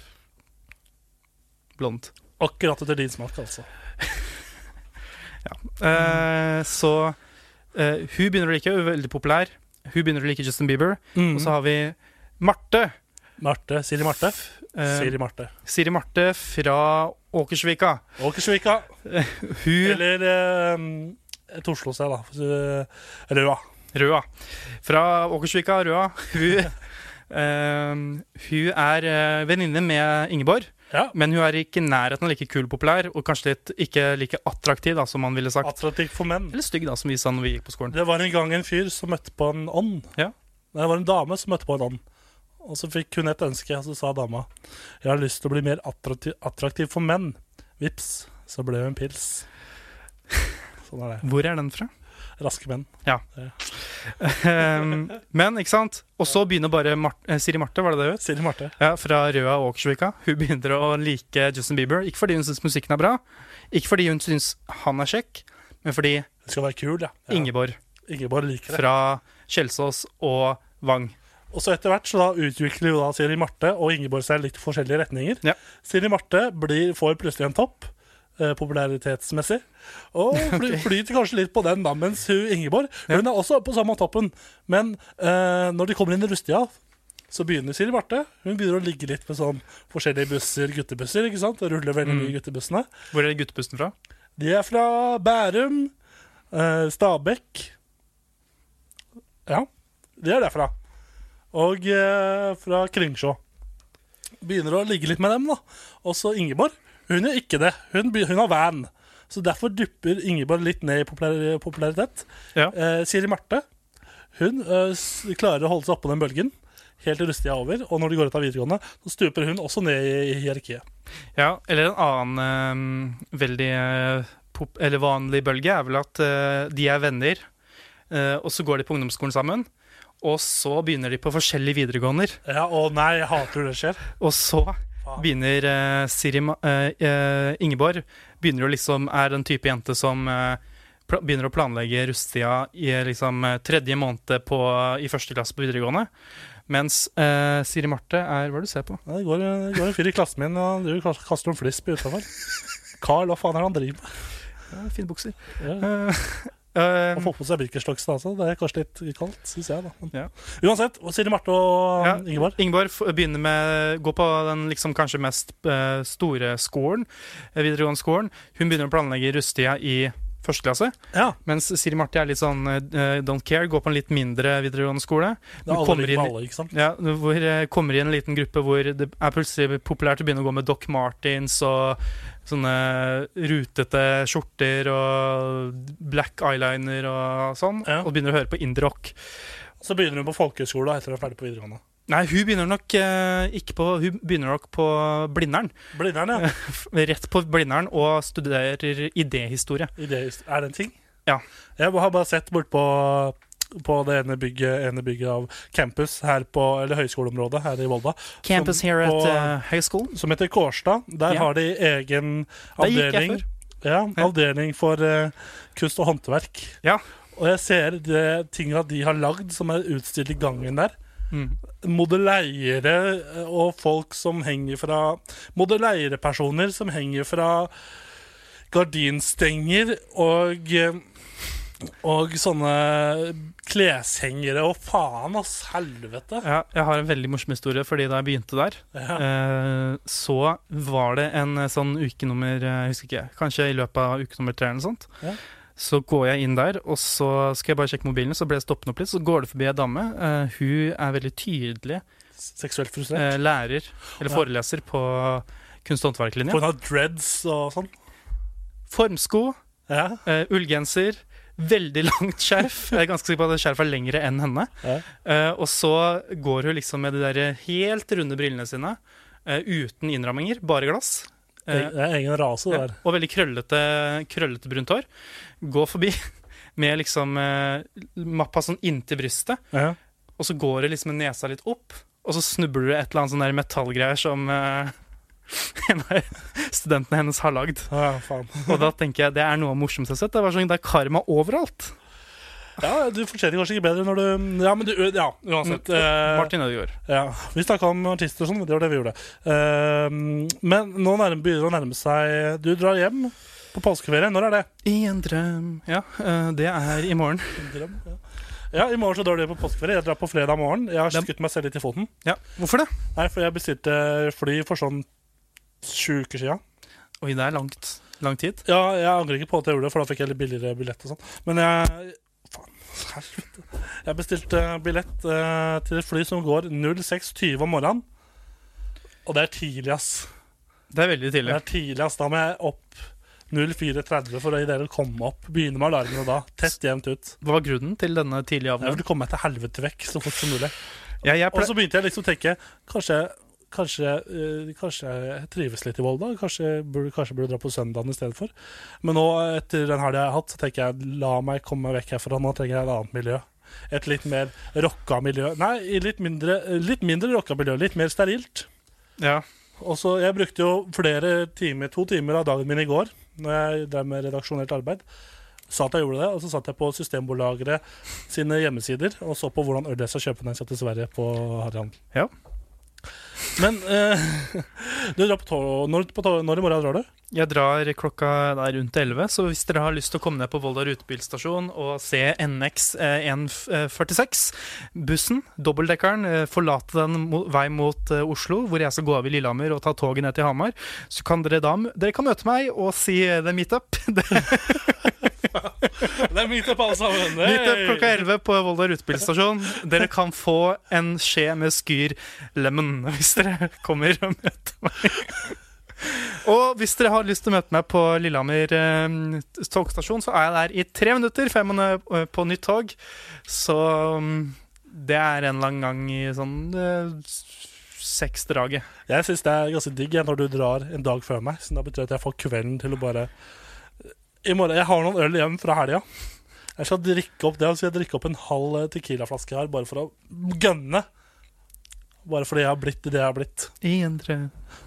S6: Blond.
S5: Akkurat etter din smak, altså.
S6: Eh, så eh, hun begynner å like, hun er veldig populær. Hun begynner å like Justin Bieber. Og så har vi Marte.
S5: Marte, Mm. Siri Marte.
S6: eh,
S5: Siri Marte.
S6: Siri Marte fra Åkersvika.
S5: Åkersvika.
S6: Hun
S5: Eller eh, et Oslo sted, da. Så- Røa.
S6: Røa. Fra Åkersvika, Røa. Hun, eh, hun er eh, venninne med Ingeborg,
S5: Ja.
S6: men hun er ikke i nærheten av like kul og populær, og kanskje litt ikke like attraktiv, da, som man ville sagt.
S5: Attraktiv for menn.
S6: Eller stygg, da, som vi sa når vi gikk på skolen.
S5: Det var en gang en fyr som møtte på en ånd.
S6: Ja.
S5: Nei, det var en dame som møtte på en ånd. Og så fikk hun et ønske, og så sa dama Jeg har lyst til å bli mer attraktiv, attraktiv for menn. Vips, så ble hun en pils. Sånn er det.
S6: Hvor er den fra?
S5: Raske menn.
S6: Eh, men, ikke sant? Og så begynner bare Mar eh, Siri Marte, var det det hun het?
S5: Siri Marte.
S6: Ja, fra Røa og Åkersvika. Hun begynner å like Justin Bieber. Ikke fordi hun syns musikken er bra, ikke fordi hun syns han er kjekk, men fordi
S5: Hun skal være kul, ja. ja.
S6: Ingeborg
S5: Ingeborg liker det.
S6: fra Kjelsås og Vang
S5: Og så etter hvert så da utvikler jo da Siri Marte og Ingeborg seg litt forskjellige retninger.
S6: Ja.
S5: Siri Marte blir, får plutselig en topp, eh, popularitetsmessig, og fly, flyter kanskje litt på den da, mens hun Ingeborg Hun er også på samme toppen, men eh, når de kommer inn i rustida, så begynner Siri Marte. Hun begynner å ligge litt med sånn forskjellige busser, guttebusser, ikke sant? Ruller veldig mye i guttebussene.
S6: Hvor er guttepusten fra?
S5: De er fra Bærum, eh, Stabekk Ja, de er derfra. Og eh, fra Kringsjå. Begynner å ligge litt med dem, da. Også Ingeborg. Hun gjør ikke det. Hun, be- hun har van. Så derfor dupper Ingeborg litt ned i populær, popularitet.
S6: Ja.
S5: Eh, Siri Marte hun eh, s- klarer å holde seg oppå den bølgen helt til rusttida er over. Og når de går ut av videregående, så stuper hun også ned i, i hierarkiet.
S6: Ja, eller en annen eh, veldig eh, pop eller vanlig bølge er vel at eh, de er venner, eh, og så går de på ungdomsskolen sammen. Og så begynner de på forskjellige videregående,
S5: Ja, Å nei, jeg hater når det skjer.
S6: og så begynner eh, Siri Ma- eh, eh, Ingeborg begynner å liksom er den type jente som eh, pla- begynner å planlegge rusttida i eh, liksom eh, tredje måned på, i første klasse på videregående. Mens eh, Siri Marte er Hva er det du ser på?
S5: Ja, Det går, det går en fyr i klassen min og han driver og kas- kaster noen flisp utafor. Carl, hva faen er det han driver med?
S6: Ja, fine bukser.
S5: Ja.
S6: Eh, eh,
S5: Han får på seg Birkenstocks, altså. Det er kanskje litt kaldt, syns jeg. da. Men,
S6: Ja.
S5: Uansett, hva sier Marte og
S6: Ja.
S5: Ingeborg?
S6: Ingeborg f- begynner med Gå på den liksom kanskje mest eh, store skolen, eh, videregående skolen. Hun begynner å planlegge rusttida i første klasse.
S5: Ja,
S6: Mens Siri Marte er litt sånn eh, don't care, går på en litt mindre videregående skole.
S5: det er
S6: Hun
S5: alle
S6: kommer
S5: liker med
S6: inn i-
S5: alle, ikke sant?
S6: Ja, hvor eh, kommer i en liten gruppe hvor det er plutselig populært å begynne å gå med Doc Martens og sånne rutete skjorter og black eyeliner og sånn,
S5: Ja.
S6: og begynner å høre på indie-rock.
S5: Så begynner hun på folkehøyskole da, etter å er ferdig på videregående.
S6: Nei, hun begynner nok eh, ikke på Hun begynner nok på Blindern.
S5: Blindern, ja.
S6: Rett på Blindern og studerer idéhistorie.
S5: Idehistorie. Er det en ting?
S6: Ja.
S5: Jeg har bare sett bortpå på det ene bygget, ene bygget av campus her på, eller høyskoleområdet her i Volda,
S6: Campus
S5: Som
S6: here at
S5: på-
S6: eh, høyskolen.
S5: som heter Kårstad. Der
S6: Ja.
S5: har de egen
S6: Der gikk jeg
S5: avdeling.
S6: før.
S5: Ja, avdeling for eh, kunst og håndverk.
S6: Ja.
S5: Og jeg ser det tinga de har lagd, som er utstilt i gangen der.
S6: Mm.
S5: Modelleiere eh, og folk som henger fra Modelleierepersoner som henger fra gardinstenger og eh, og sånne kleshengere og faen, ass. Helvete.
S6: Ja, jeg har en veldig morsom historie, fordi da jeg begynte der,
S5: Ja.
S6: eh, så var det en eh, sånn uke nummer eh, Jeg husker ikke, kanskje i løpet av uke nummer tre eller noe sånt.
S5: Ja.
S6: Så går jeg inn der, og så skal jeg bare sjekke mobilen, så ble jeg stoppende opp litt. Så går det forbi ei dame. eh, hun er veldig tydelig
S5: Seksuelt frustrert.
S6: eh, lærer, eller
S5: Ja.
S6: foreleser, på kunst- og håndverklinja.
S5: For hun har dreads og sånn.
S6: Formsko,
S5: Ja.
S6: eh, ullgenser, veldig langt skjerf. Jeg er ganske sikker på at det skjerfet er lengre enn henne.
S5: Ja.
S6: Eh, og så går hun liksom med de der helt runde brillene sine, eh, uten innramminger, bare glass.
S5: Det
S6: Eh,
S5: er egen rase, det
S6: ja,
S5: der.
S6: og veldig krøllete, krøllete brunt hår. Går forbi med liksom eh, mappa sånn inntil brystet,
S5: Ja.
S6: og så går det liksom med nesa litt opp, og så snubler du et eller annet sånn der metallgreier som eh, en av studentene hennes har lagd.
S5: Ja, faen.
S6: Og da tenker jeg det er noe av det morsomste jeg har sett. Det, var sånn, det er karma overalt.
S5: ja, du fortjener kanskje ikke bedre når du Ja, men du Ja, uansett. eh,
S6: Martin Ødegaard.
S5: Ja, Vi snakka om artister og sånn, men det var det vi gjorde. Ehm, men nå nærme, begynner det å nærme seg Du drar hjem på påskeferie. Når er det?
S6: I en drøm Ja, eh, det er i morgen.
S5: ja. i morgen så drar du hjem på påskeferie. Jeg drar på fredag morgen. Jeg har
S6: Dem-
S5: skutt meg selv litt i foten.
S6: Ja, Hvorfor det?
S5: Nei, for jeg bestilte fly for sånn sju uker sia.
S6: Oi, det er langt. Lang tid.
S5: Ja, jeg angrer ikke på at jeg gjorde det, for da fikk jeg litt billigere billett og sånn. Men jeg Faen, helvete. Jeg bestilte billett eh, til et fly som går 06.20 om morgenen. Og det er tidlig, ass.
S6: Det er veldig
S5: Det
S6: tidlig.
S5: er tidlig, ass. Da må jeg opp 04.30 for å i det hele komme opp. Begynne med alarmene da. Test jevnt ut.
S6: Hva var grunnen til denne tidlige
S5: Jeg
S6: avgangen?
S5: ville komme meg til helvete vekk så fort som mulig.
S6: Ja, jeg
S5: Og
S6: ple
S5: så begynte jeg liksom å tenke Kanskje Kanskje, eh, kanskje jeg trives litt i Volda. Kanskje jeg burde, kanskje jeg burde dra på søndagen i stedet for. Men nå, etter den helga jeg har hatt, så tenker jeg la meg komme meg vekk herfra. Nå trenger jeg et annet miljø. Et litt mer rocka miljø. Nei, i litt mindre, litt mindre rocka miljø. Litt mer sterilt.
S6: ja.
S5: Og så, Jeg brukte jo flere timer, to timer av dagen min i går når jeg drev med redaksjonelt arbeid. Satt jeg gjorde det, Og så satt jeg på Systembolageret sine hjemmesider og så på hvordan øl jeg skal kjøpe når jeg skal til Sverige på harryhandel.
S6: Ja.
S5: Men eh, du drar på tog, når, på tog, når i morgen drar du?
S6: Jeg drar klokka der rundt 11, så hvis dere har lyst til å komme ned på Volda rutebilstasjon og se NX eh, 146, bussen, dobbeltdekkeren, eh, forlate den mo vei mot eh, Oslo, hvor jeg skal gå av i Lillehammer og ta toget ned til Hamar, så kan dere da m- Dere kan møte meg og si eh, det er meetup. Det er
S5: Det er meetup, alle sammen.
S6: meetup klokka 11 på Volda rutebilstasjon. Dere kan få en skje med Skyr Lemon hvis dere kommer og møter meg. Og hvis dere har lyst til å møte meg på Lillehammer eh, togstasjon, så er jeg der i tre minutter, for jeg må ned, eh, på nytt tog. Så mm, det er en eller annen gang i sånn eh, seksdraget.
S5: Jeg syns det er ganske digg jeg, når du drar en dag før meg. Så da betyr det at jeg får kvelden til å bare I morgen, Jeg har noen øl igjen fra helga. Jeg skal drikke opp det, og så skal jeg drikke opp en halv eh, Tequila-flaske her bare for å gønne. Bare fordi jeg har blitt det jeg har blitt.
S6: I en tre.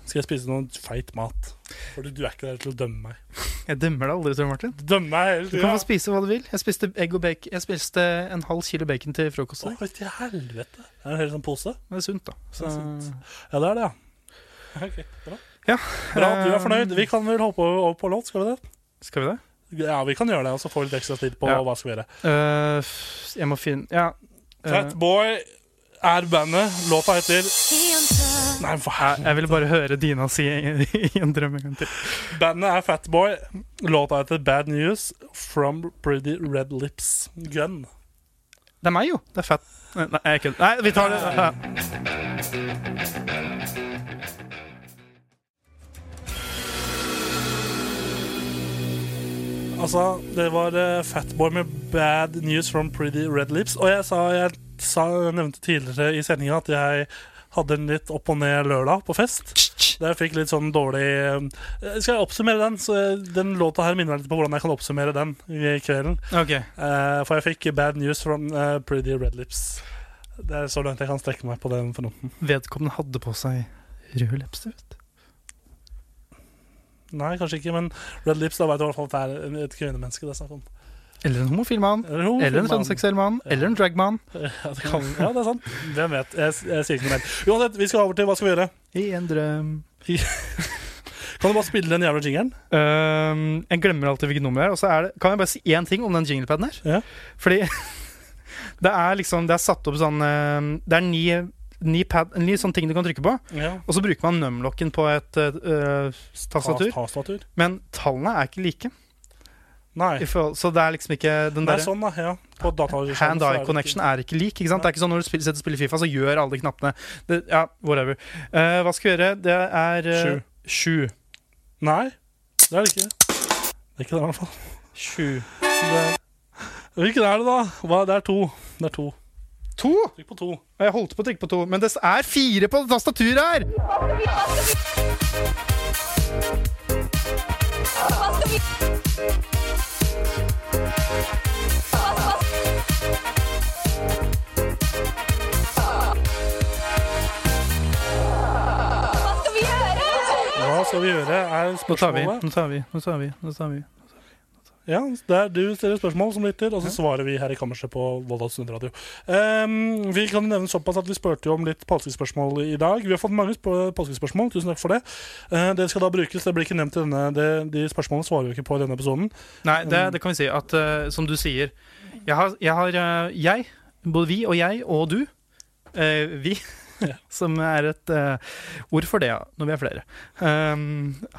S5: Så skal jeg spise noen feit mat. For du er ikke der til å dømme meg.
S6: Jeg dømmer deg aldri, Tor Martin.
S5: Du dømmer meg hele
S6: Du kan
S5: tida.
S6: få spise hva du vil. Jeg spiste egg og bacon. Jeg spiste en halv kilo bacon til frokost. i dag.
S5: Å, til helvete. Er det en hel sånn pose?
S6: Det er sunt, da.
S5: Det er sunt. Ja, ehm, det er det, ja. Mm. Ok, bra.
S6: Ja,
S5: bra. Du er fornøyd. Vi kan vel hoppe over på låt, skal vi det?
S6: Skal vi det?
S5: Ja, vi kan gjøre det, og så får vi litt ekstra tid på
S6: Ja.
S5: hva skal vi gjøre.
S6: Eh, f- jeg må finne Ja. eh,
S5: Fatboy er bandet. Låta heter Nei, hva er
S6: jeg, jeg ville bare høre Dina si i, i en drøm en gang til.
S5: Bandet er Fatboy. Låta heter Bad News From Pretty Red Lips Gun.
S6: Det er meg, jo. Det er fett. Nei, Nei, jeg kødder. Nei, vi tar det. Ja.
S5: Altså, det var eh, Fatboy med Bad News From Pretty Red Lips. Og jeg sa, jeg sa jeg nevnte tidligere i sendinga at jeg hadde en litt opp og ned lørdag på fest. Der jeg fikk litt sånn dårlig eh, Skal jeg oppsummere den? Så eh, den låta her minner meg litt på hvordan jeg kan oppsummere den i kvelden.
S6: Ok.
S5: Eh, for jeg fikk bad news from eh, Pretty Red Lips. Det er så langt jeg kan strekke meg på den fronten.
S6: Vedkommende hadde på seg rød leppestift.
S5: Nei, kanskje ikke, men Red Lips, da vet du i hvert fall at det er en- et kvinnemenneske det er snakk om.
S6: Eller en homofil mann.
S5: Eller, noe,
S6: Eller en sånn
S5: mann.
S6: transseksuell mann. Eller en dragman.
S5: Ja, det kan, ja, det er sant. Hvem vet. Jeg, jeg sier ikke noe mer. Uansett, vi skal over til hva skal vi gjøre?
S6: I en drøm
S5: Kan du bare spille den jævla jingeren?
S6: Øhm, Ehm, jeg glemmer alltid hvilket nummer det er. Og så er det, kan jeg bare si én ting om den jinglepaden her?
S5: Ja.
S6: Fordi det er liksom Det er satt opp sånn øhm, Det er ni, ni, pad, ni sånne ting du kan trykke på.
S5: Ja.
S6: Og så bruker man numlocken på et øh, tastatur.
S5: Tastatur?
S6: Men tallene er ikke like. I
S5: Nei.
S6: forhold, så det er liksom ikke den
S5: Det er
S6: der
S5: sånn, da. Ja. På dataregimen så er
S6: Hand-eye
S5: det
S6: connection er ikke lik. ikke sant? Det er ikke sånn Når du spiller, sitter og spiller Fifa, så gjør alle de knappene det, Ja, whatever. Eh, hva skal vi gjøre? Det er eh, Sju.
S5: ikke- Nei, det er det ikke. Det er ikke det, i hvert fall.
S6: Sju.
S5: Hvilken er det, da? Hva, det er to. Det er to.
S6: To!
S5: Trykk på to.
S6: Og Jeg holdt på å trykke på to, men det er fire på tastaturet her!
S7: Hva skal vi gjøre?
S5: skal vi gjøre, er
S6: Nå tar vi,
S5: spørsmålet
S6: nå tar vi, nå tar vi. Nå tar vi.
S5: Ja, der du stiller spørsmål som lytter, og så svarer vi her i kammerset på Volda Studentradio. Um, vi kan nevne såpass at vi spurte jo om litt påskespørsmål i dag. Vi har fått mange sp- påskespørsmål, tusen takk for det. Eh, det skal da brukes, det blir ikke nevnt i denne, det, de spørsmålene svarer vi ikke på i denne episoden.
S6: Nei, det,
S5: Mm.
S6: det kan vi si. At eh, som du sier Jeg har, jeg, har eh, jeg både vi og jeg og du eh, Vi, som er et eh, ord for det ja, når vi er flere, eh,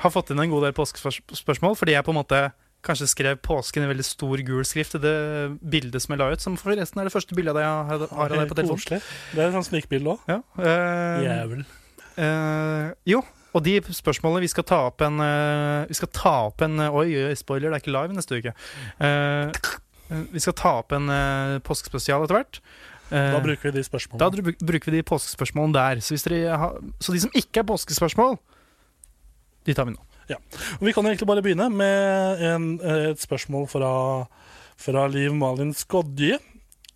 S6: har fått inn en god del påskespørsmål fordi jeg på en måte kanskje skrev påsken i veldig stor gul skrift i det bildet som jeg la ut, som forresten er det første bildet av deg jeg har- har av deg på
S5: Eh,
S6: telefonen.
S5: Koselig. Det er sånn et sånt snikbilde òg.
S6: Ja, eh,
S5: Jævel.
S6: Eh, jo, og de spørsmålene vi skal ta opp en eh, Vi skal ta opp en eh, Oi, oi, spoiler, det er ikke live neste uke. Eh, eh, vi skal ta opp en eh, påskespesial etter hvert. Eh,
S5: Da bruker vi de
S6: da
S5: spørsmålene.
S6: dru- bruker vi de påskespørsmålene der. Så, hvis dere har, så de som ikke er påskespørsmål, de tar vi nå.
S5: Og Vi kan egentlig bare begynne med en, eh, et spørsmål fra, fra Liv Malin Skodje.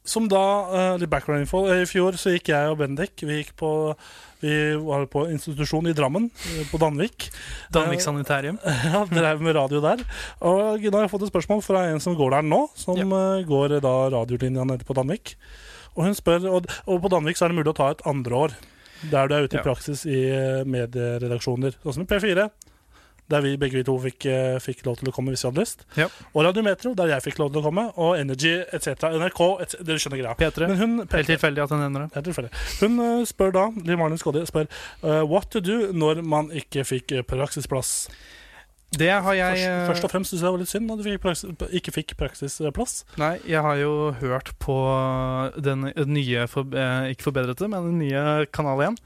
S5: Som da, eh, litt background info, eh, I fjor så gikk jeg og Bendik Vi gikk på Vi var på institusjon i Drammen, eh, på Danvik.
S6: Danvik Sanitarium.
S5: Ja, Drev med radio der. Og da har jeg fått et spørsmål fra en som går der nå, som eh, går eh, da radiolinja nede på Danvik. Og hun spør, og, og på Danvik så er det mulig å ta et andre år der du er ute
S6: Ja.
S5: i praksis i eh, medieredaksjoner, sånn som i P4. Der vi begge vi to fikk, eh, fikk lov til å komme hvis vi hadde lyst.
S6: Ja.
S5: Og Radiometro, der jeg fikk lov til å komme. Og Energy etc. NRK, et, dere skjønner greia.
S6: P3.
S5: Men hun,
S6: Helt tilfeldig at jeg nevner det.
S5: det er tilfeldig. Hun eh, spør da, Liv Marlin Skodje spør eh, what to do når man ikke fikk eh, praksisplass.
S6: Det har jeg
S5: Først,
S6: eh,
S5: først og fremst syns jeg det var litt synd at du fikk praksis, ikke fikk praksisplass.
S6: Nei, jeg har jo hørt på den nye for, eh, Ikke forbedrete, men den nye Kanal 1.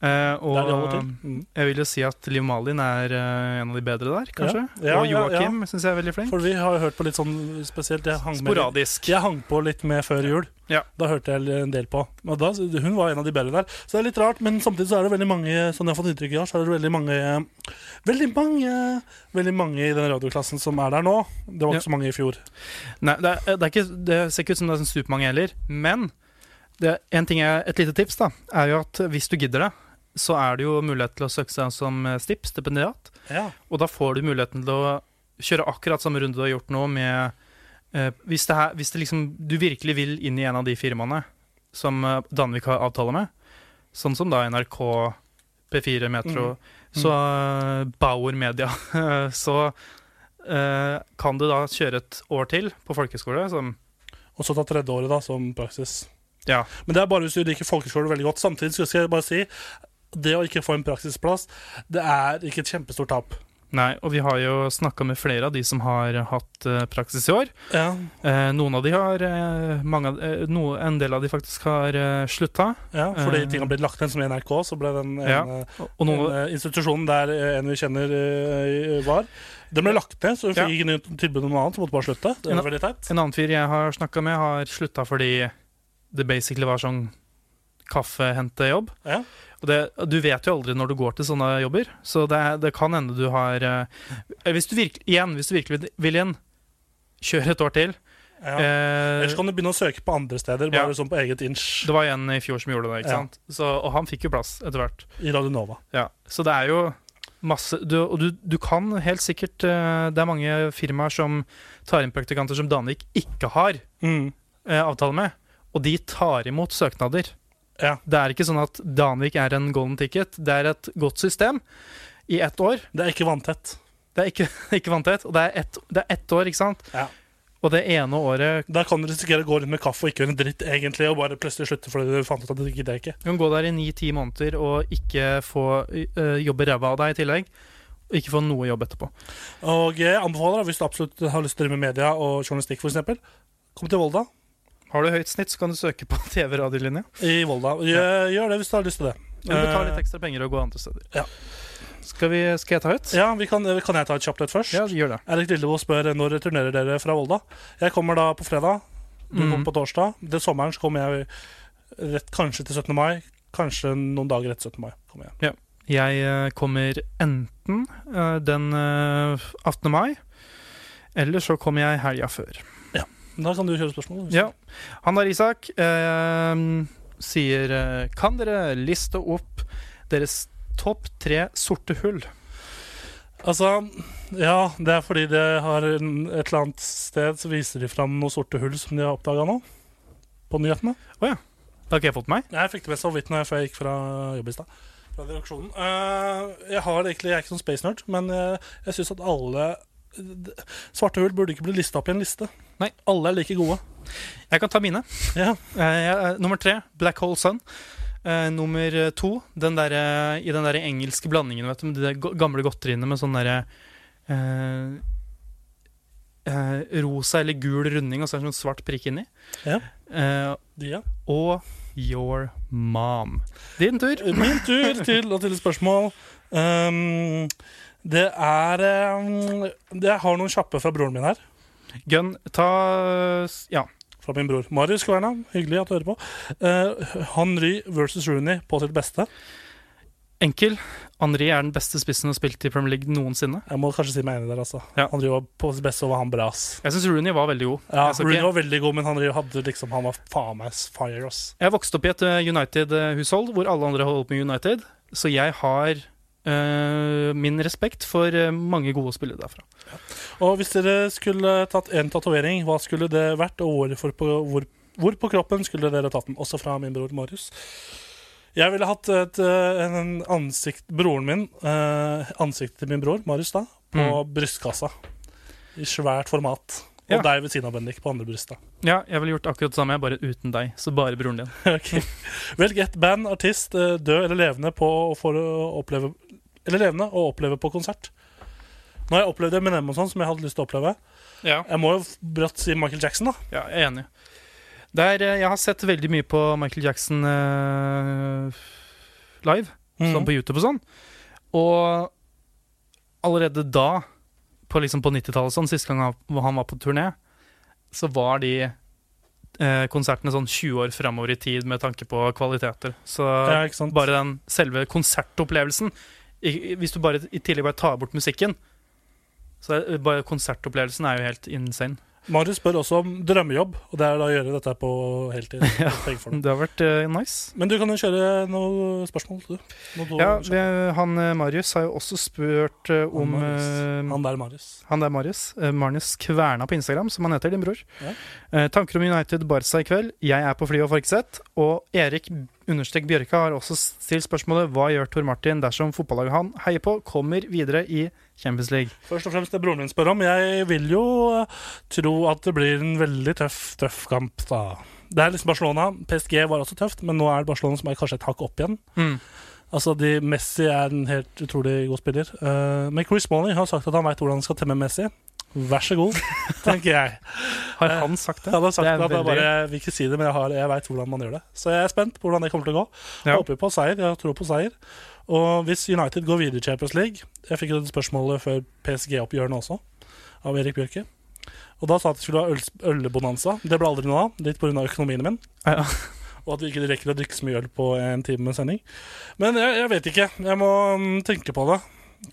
S6: Eh, og
S5: Der de holder til. Mm.
S6: Jeg vil jo si at Liv Malin er eh, en av de bedre der, kanskje.
S5: Ja,
S6: og
S5: ja,
S6: Joakim synes syns jeg er veldig flink.
S5: For vi har jo hørt på litt sånn spesielt jeg hang, med,
S6: Sporadisk.
S5: jeg hang på litt med før jul.
S6: Ja.
S5: Da hørte jeg en del på. Og da, hun var en av de bedre der. Så det er litt rart, men samtidig så er det veldig mange Sånn jeg har fått inntrykk av, så er det veldig mange Veldig mange Veldig mange i den radioklassen som er der nå. Det var
S6: Ja.
S5: ikke så mange i fjor.
S6: Nei, det, er, det, er ikke, det ser ikke ut som det er sånn supermange heller. Men det, er en ting jeg, et lite tips da, er jo at hvis du gidder det, så er det jo mulighet til å søke seg som eh, STIP, stipendiat.
S5: Ja.
S6: Og da får du muligheten til å kjøre akkurat samme runde du har gjort nå med eh, Hvis, det her, hvis det liksom, du virkelig vil inn i en av de firmaene som eh, Danvik har avtale med, sånn som da NRK, P4, Metro, så eh, Bauer Media, så eh, kan du da kjøre et år til på folkehøyskole som
S5: Og så ta tredje året da, som praksis.
S6: Ja.
S5: Men det er bare hvis du liker folkeskole veldig godt. Samtidig så skal jeg bare si det å ikke få en praksisplass, det er ikke et kjempestort tap.
S6: Nei, og vi har jo snakka med flere av de som har hatt eh, praksis i år.
S5: Ja,
S6: Eh, noen av de har eh, mange, av- eh, no, En del av de faktisk har eh, slutta.
S5: ja fordi
S6: Eh.
S5: ting har blitt lagt ned som i NRK, så ble den ene,
S6: Ja, Og noen,
S5: ene institusjonen der eh, en vi kjenner eh, var, den ble lagt ned, så vi
S6: Ja.
S5: fikk ikke nytt tilbud om noe annet, så måtte bare slutte. Det
S6: Ja.
S5: var veldig teit.
S6: En annen fyr jeg har snakka med, har slutta fordi det basically var sånn kaffehentejobb.
S5: Ja.
S6: Og det, du vet jo aldri når du går til sånne jobber, så det, er- det kan hende du har eh, hvis du virke, Igjen, hvis du virkelig vil- vil inn, kjør et år til.
S5: Ja.
S6: Eh,
S5: Ellers kan du begynne å søke på andre steder,
S6: Ja.
S5: bare sånn på eget inch
S6: det var en i fjor som gjorde det, ikke
S5: Ja.
S6: sant? Så, og han fikk jo plass etter hvert.
S5: i Radio Nova.
S6: Ja, så det er jo masse du, Og du, du kan helt sikkert eh, Det er mange firmaer som tar inn praktikanter som Danvik ikke har eh, avtale med, og de tar imot søknader.
S5: Ja.
S6: Det er ikke sånn at Danvik er en golden ticket. Det er et godt system i ett år.
S5: Det er ikke vanntett.
S6: Det er ikke, ikke vanntett, og det er, ett, det er ett år, ikke sant?
S5: Ja.
S6: Og det ene året
S5: Der kan du risikere å gå rundt med kaffe og ikke gjøre en dritt, egentlig, og bare plutselig slutte fordi du fant ut at det gidder jeg ikke.
S6: Du kan gå der i ni-ti måneder og ikke få eh, jobbe ræva av deg i tillegg. Og ikke få noe jobb etterpå.
S5: Og jeg anbefaler, da, hvis du absolutt har lyst til å drive med media og journalistikk, for eksempel kom til Volda.
S6: Har du høyt snitt, så kan du søke på TV-radiolinja. Eh,
S5: I Volda. Gjør, gjør det hvis du har lyst til det. Eh,
S6: Eller betale litt ekstra penger og gå andre steder.
S5: Ja.
S6: Skal, vi, skal jeg ta høyt?
S5: Ja, vi kan, eh, kan jeg ta et kjapt et først?
S6: Ja, gjør det.
S5: Erik Lillebo spør eh, når returnerer dere fra Volda. Jeg kommer da på fredag. Du
S6: Mm.
S5: kommer på torsdag. Den sommeren så kommer jeg rett kanskje til 17. mai. Kanskje noen dager etter 17. mai. kommer jeg.
S6: Jeg eh, kommer enten eh, den eh, 18. mai, eller så kommer jeg helga før.
S5: Da kan du kjøre spørsmål. hvis-
S6: Ja. Han der Isak eh, sier eh, Kan dere liste opp deres topp tre sorte hull?
S5: Altså, ja, det er fordi det har en, et eller annet sted så viser de fram noen sorte hull som de har oppdaga nå. På nyhetene.
S6: Det har ikke jeg fått med meg.
S5: Jeg fikk det med så vidt når jeg, før jeg gikk fra jobb i stad. Fra redaksjonen. Eh, jeg, har egentlig, jeg er ikke sånn space nerd, men jeg, jeg syns at alle d- Svarte hull burde ikke bli lista opp i en liste.
S6: Nei.
S5: Alle er like gode.
S6: Jeg kan ta mine.
S5: Ja.
S6: Eh, jeg- eh, nummer tre, Black Hole Sun. Eh, nummer to, den der, eh, i den der engelske blandingen vet du, med de der go- gamle godteriene med sånn derre eh, eh, rosa eller gul runding og så er det en sånn svart prikk inni.
S5: Ja.
S6: Eh,
S5: De, ja.
S6: og Your Mom. Din tur.
S5: Min tur til å stille spørsmål. Um, det er um, det, Jeg har noen kjappe fra broren min her.
S6: Gun, ta s- Ja.
S5: Fra min bror. Marius Kverna, hyggelig at du hører på. Uh, Henry versus Rooney på sitt beste.
S6: Enkel. Henri er den beste spissen som har spilt i Premier League noensinne.
S5: Jeg må kanskje si meg enig der, altså.
S6: Ja.
S5: Henry var på sitt beste, og var han bra, ass.
S6: Jeg syns Rooney var veldig god.
S5: Ja,
S6: jeg, skal
S5: Rooney
S6: ikke-
S5: var veldig god, men Henry hadde liksom Han var faen meg fire, ass.
S6: jeg vokste opp i et eh, United-hushold hvor alle andre holdt på med United, så jeg har eh, min respekt for eh, mange gode spillere derfra.
S5: Og hvis dere skulle tatt én tatovering, hva skulle det vært, og hvorfor på, hvor, hvor på kroppen skulle dere tatt den? Også fra min bror Marius. Jeg ville hatt et, eh, en ansikt, broren min, eh, ansiktet til min bror, Marius, da, på brystkassa. I svært format. Og
S6: Ja.
S5: deg ved siden av Bendik på andre brystet.
S6: Ja, jeg ville gjort akkurat det samme, bare uten deg. Så bare broren din.
S5: Ok. Velg ett band, artist, eh, død eller levende på for å oppleve Eller levende og oppleve på konsert. Nå har jeg opplevd Eminem og sånn, som jeg hadde lyst til å oppleve.
S6: Ja,
S5: Jeg må jo brått si Michael Jackson, da.
S6: jeg er enig. Der, eh, jeg har sett veldig mye på Michael Jackson eh, live.
S5: Mm.
S6: sånn på YouTube og sånn. Og allerede da, på, liksom på 90-tallet, sånn, siste gang han han var på turné, så var de eh, konsertene sånn 20 år framover i tid med tanke på kvaliteter. Så
S5: Ja, ikke sant?
S6: bare den selve konsertopplevelsen i, i- Hvis du bare i tillegg bare tar bort musikken, så er, bare konsertopplevelsen er jo helt insane.
S5: Marius spør også om drømmejobb, og det er da å gjøre dette på heltid. Tenk for det.
S6: Det har vært eh, nice.
S5: Men du kan jo kjøre noen spørsmål, du. Noe du
S6: Ja, vi, han eh, Marius har jo også spurt eh, om eh,
S5: Han der, Marius.
S6: Han der Marius. Eh, Marius Kverna på Instagram, som han heter, din bror.
S5: Ja.
S6: Eh, tanker om United Barca i kveld. Jeg er på flyet og får ikke sett. Og Erik understrek Bjørka har også stilt spørsmålet hva gjør Tor Martin dersom fotballaget han heier på, kommer videre i Champions League?
S5: Først og fremst det broren min spør om. Jeg vil jo eh, tro at det blir en veldig tøff, tøff kamp, da. Det er liksom Barcelona. PSG var også tøft, men nå er det Barcelona som er kanskje et hakk opp igjen.
S6: Mm.
S5: Altså, de, Messi er en helt utrolig god spiller. Eh, men Chris Molly har sagt at han veit hvordan han skal temme Messi. Vær så god, tenker jeg.
S6: Har han sagt det?
S5: Jeg hadde sagt
S6: Det
S5: det at
S6: er
S5: jeg
S6: veldig-
S5: bare jeg vil ikke si det, men jeg, har, jeg vet hvordan man gjør det. Så jeg er spent på hvordan det kommer til å gå.
S6: Ja.
S5: Jeg håper på seier. Jeg tror på seier. Og hvis United går videre i Champions League Jeg fikk jo det spørsmålet før PSG-oppgjørene også, av Erik Bjørke. Og da sa jeg at det skulle ha øls- ølbonanza. Det ble aldri noe av, litt pga. økonomien min.
S6: Ja.
S5: Og at vi ikke rekker å drikke så mye øl på en time med sending. Men jeg, jeg vet ikke. Jeg må mm, tenke på det.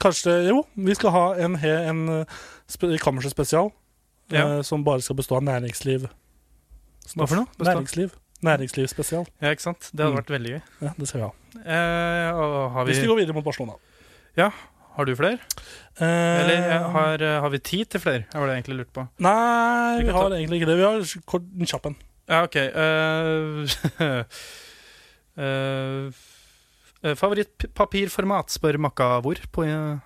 S5: Kanskje Jo, vi skal ha en, he- en eh, spe, kammerset-spesial
S6: Ja.
S5: eh, som bare skal bestå av næringsliv.
S6: Hva for noe? Bestå-
S5: Næringsliv. Næringslivsspesial.
S6: Ja, ikke sant? Det hadde
S5: Mm.
S6: vært veldig gøy.
S5: Ja, det skal vi ha.
S6: Eh, og har,
S5: Hvis de
S6: vi,
S5: går videre mot Barcelona.
S6: har du flere?
S5: Eh,
S6: Eller eh, har, eh, har vi tid til flere? Det var det jeg egentlig lurte på.
S5: Nei,
S6: Vi
S5: vi
S6: kan
S5: har
S6: ta-
S5: egentlig ikke det. Vi har kort- en kjapp en.
S6: Ja, ok. eh, eh, eh, Favorittpapirformat, spør Makkavor på eh,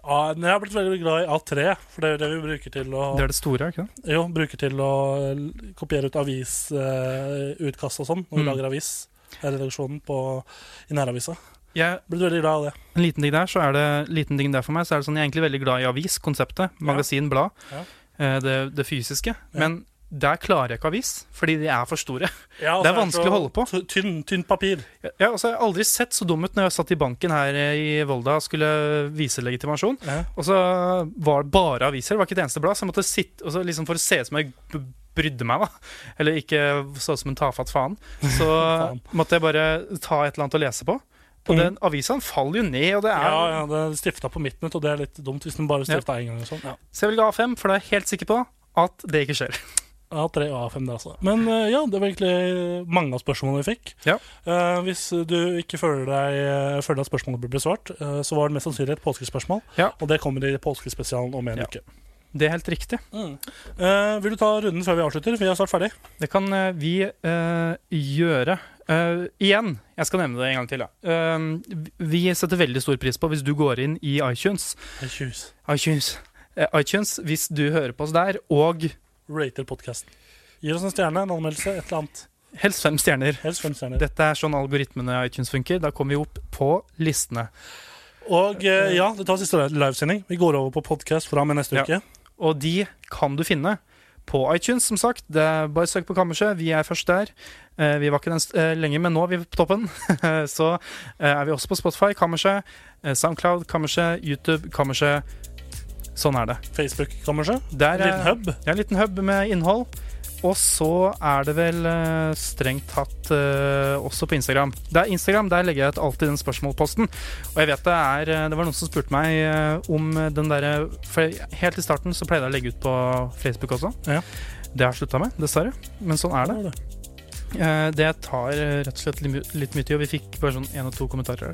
S5: Ja, men jeg har blitt veldig glad i A3, for det er jo det vi bruker til å,
S6: Det er det store, er det ikke det?
S5: jo, bruker til å l- kopiere ut avisutkast og sånn når vi
S6: Mm.
S5: lager avis. Det er redaksjonen på, i næravisa.
S6: Jeg,
S5: Blitt veldig glad i det.
S6: en liten ting der, så er det liten ting der for meg, så er det sånn jeg er egentlig veldig glad i aviskonseptet. Magasin, blad.
S5: Ja.
S6: eh, det, det fysiske. Men der klarer jeg ikke avis, fordi de er for store.
S5: Ja, og
S6: Det er
S5: så så
S6: vanskelig å holde på.
S5: ty- Tynn, tynt papir.
S6: Jeg, altså, jeg har aldri sett så dum ut når jeg satt i banken her eh, i Volda og skulle vise legitimasjon.
S5: Ja.
S6: Og så var det bare aviser, det var ikke et eneste blad. Så jeg måtte sitte og så liksom for å se ut som jeg b- brydde meg, da. Eller ikke så ut som en tafatt faen. Så
S5: Faen.
S6: måtte jeg bare ta et eller annet å lese på. Og den avisa den faller jo ned, og det er
S5: Mm. Ja, ja, det er stifta på midten, og det er litt dumt hvis den bare stifta én gang. og sånn. Ja.
S6: Så jeg velger A5, for da er jeg helt sikker på at det ikke skjer.
S5: Ja, tre og A5 der, altså. Men eh, ja, det var egentlig mange av spørsmålene vi fikk.
S6: Ja.
S5: Eh, hvis du ikke føler, deg, eh, føler at spørsmålet blir besvart, eh, så var det mest sannsynlig et påskespørsmål.
S6: Ja.
S5: Og det kommer i påskespesialen om en
S6: Ja.
S5: uke.
S6: Det er helt riktig.
S5: Eh, vil du ta runden før vi avslutter? Vi er snart ferdig.
S6: Det kan eh, vi eh, gjøre. Eh, igjen, jeg skal nevne det en gang til. Da. Eh, vi setter veldig stor pris på hvis du går inn i iTunes. iTunes, eh, iTunes Hvis du hører på oss der, og
S5: Rater podkasten. Gir oss en stjerne, en anmeldelse, et eller annet.
S6: helst fem stjerner.
S5: Helst fem stjerner.
S6: Dette er sånn algoritmene i iTunes funker. Da kommer vi opp på listene.
S5: Og eh, ja, det tar siste li- livesending. Vi går over på podkast fra og med neste
S6: Ja.
S5: uke.
S6: Og de kan du finne på iTunes, som sagt. Det er bare søk på Kammerset. Vi er først der. Eh, Vi var ikke den st- eh, lenge, men nå er vi på toppen. Så eh, er vi også på Spotify, Kammerset, eh, Soundcloud, Kammerset, YouTube, Kammerset. Sånn er det.
S5: Facebook-kammerset.
S6: Der eh,
S5: En
S6: er-
S5: liten hub.
S6: Ja, en liten hub med innhold. Og så er det vel eh, strengt tatt eh, også på Instagram. Det er Instagram, Der legger jeg ut alltid den spørsmålposten. Og jeg vet det er eh, Det var noen som spurte meg eh, om den derre For helt i starten så pleide jeg å legge ut på Facebook også.
S5: Ja.
S6: Det har jeg slutta med, dessverre. Men sånn er det. Eh, Det tar eh, rett og slett litt my- litt mye tid, og vi fikk bare sånn én og to kommentarer.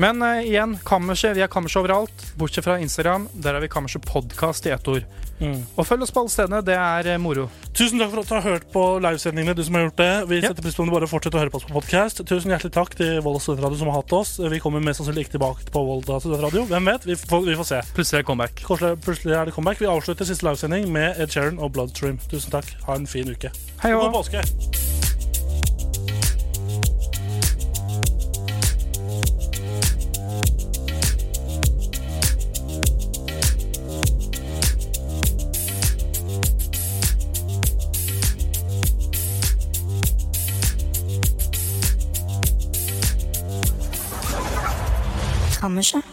S6: Men eh, igjen, kammerset. Vi er kammerset overalt, bortsett fra Instagram. Der er vi Kammerset podkast i ett ord.
S5: Mm.
S6: Og følg oss på alle stedene. Det er eh, moro.
S5: Tusen takk for at du har hørt på livesendingene. du som har gjort det. Vi
S6: Ja.
S5: setter pris på om du bare fortsetter å høre på oss på podcast. Tusen hjertelig takk til Volda Studentradio som har hatt oss. Vi kommer mest sannsynlig ikke tilbake på Volda Studentradio. Hvem vet? Vi får, vi får se.
S6: Plutselig er det comeback.
S5: Korsle, plutselig er det comeback. Vi avslutter siste livesending med Ed Sheeran og Bloodstream. Tusen takk. Ha en fin uke.
S6: Hei
S5: Og
S6: og
S5: god påske.
S7: Kammerset.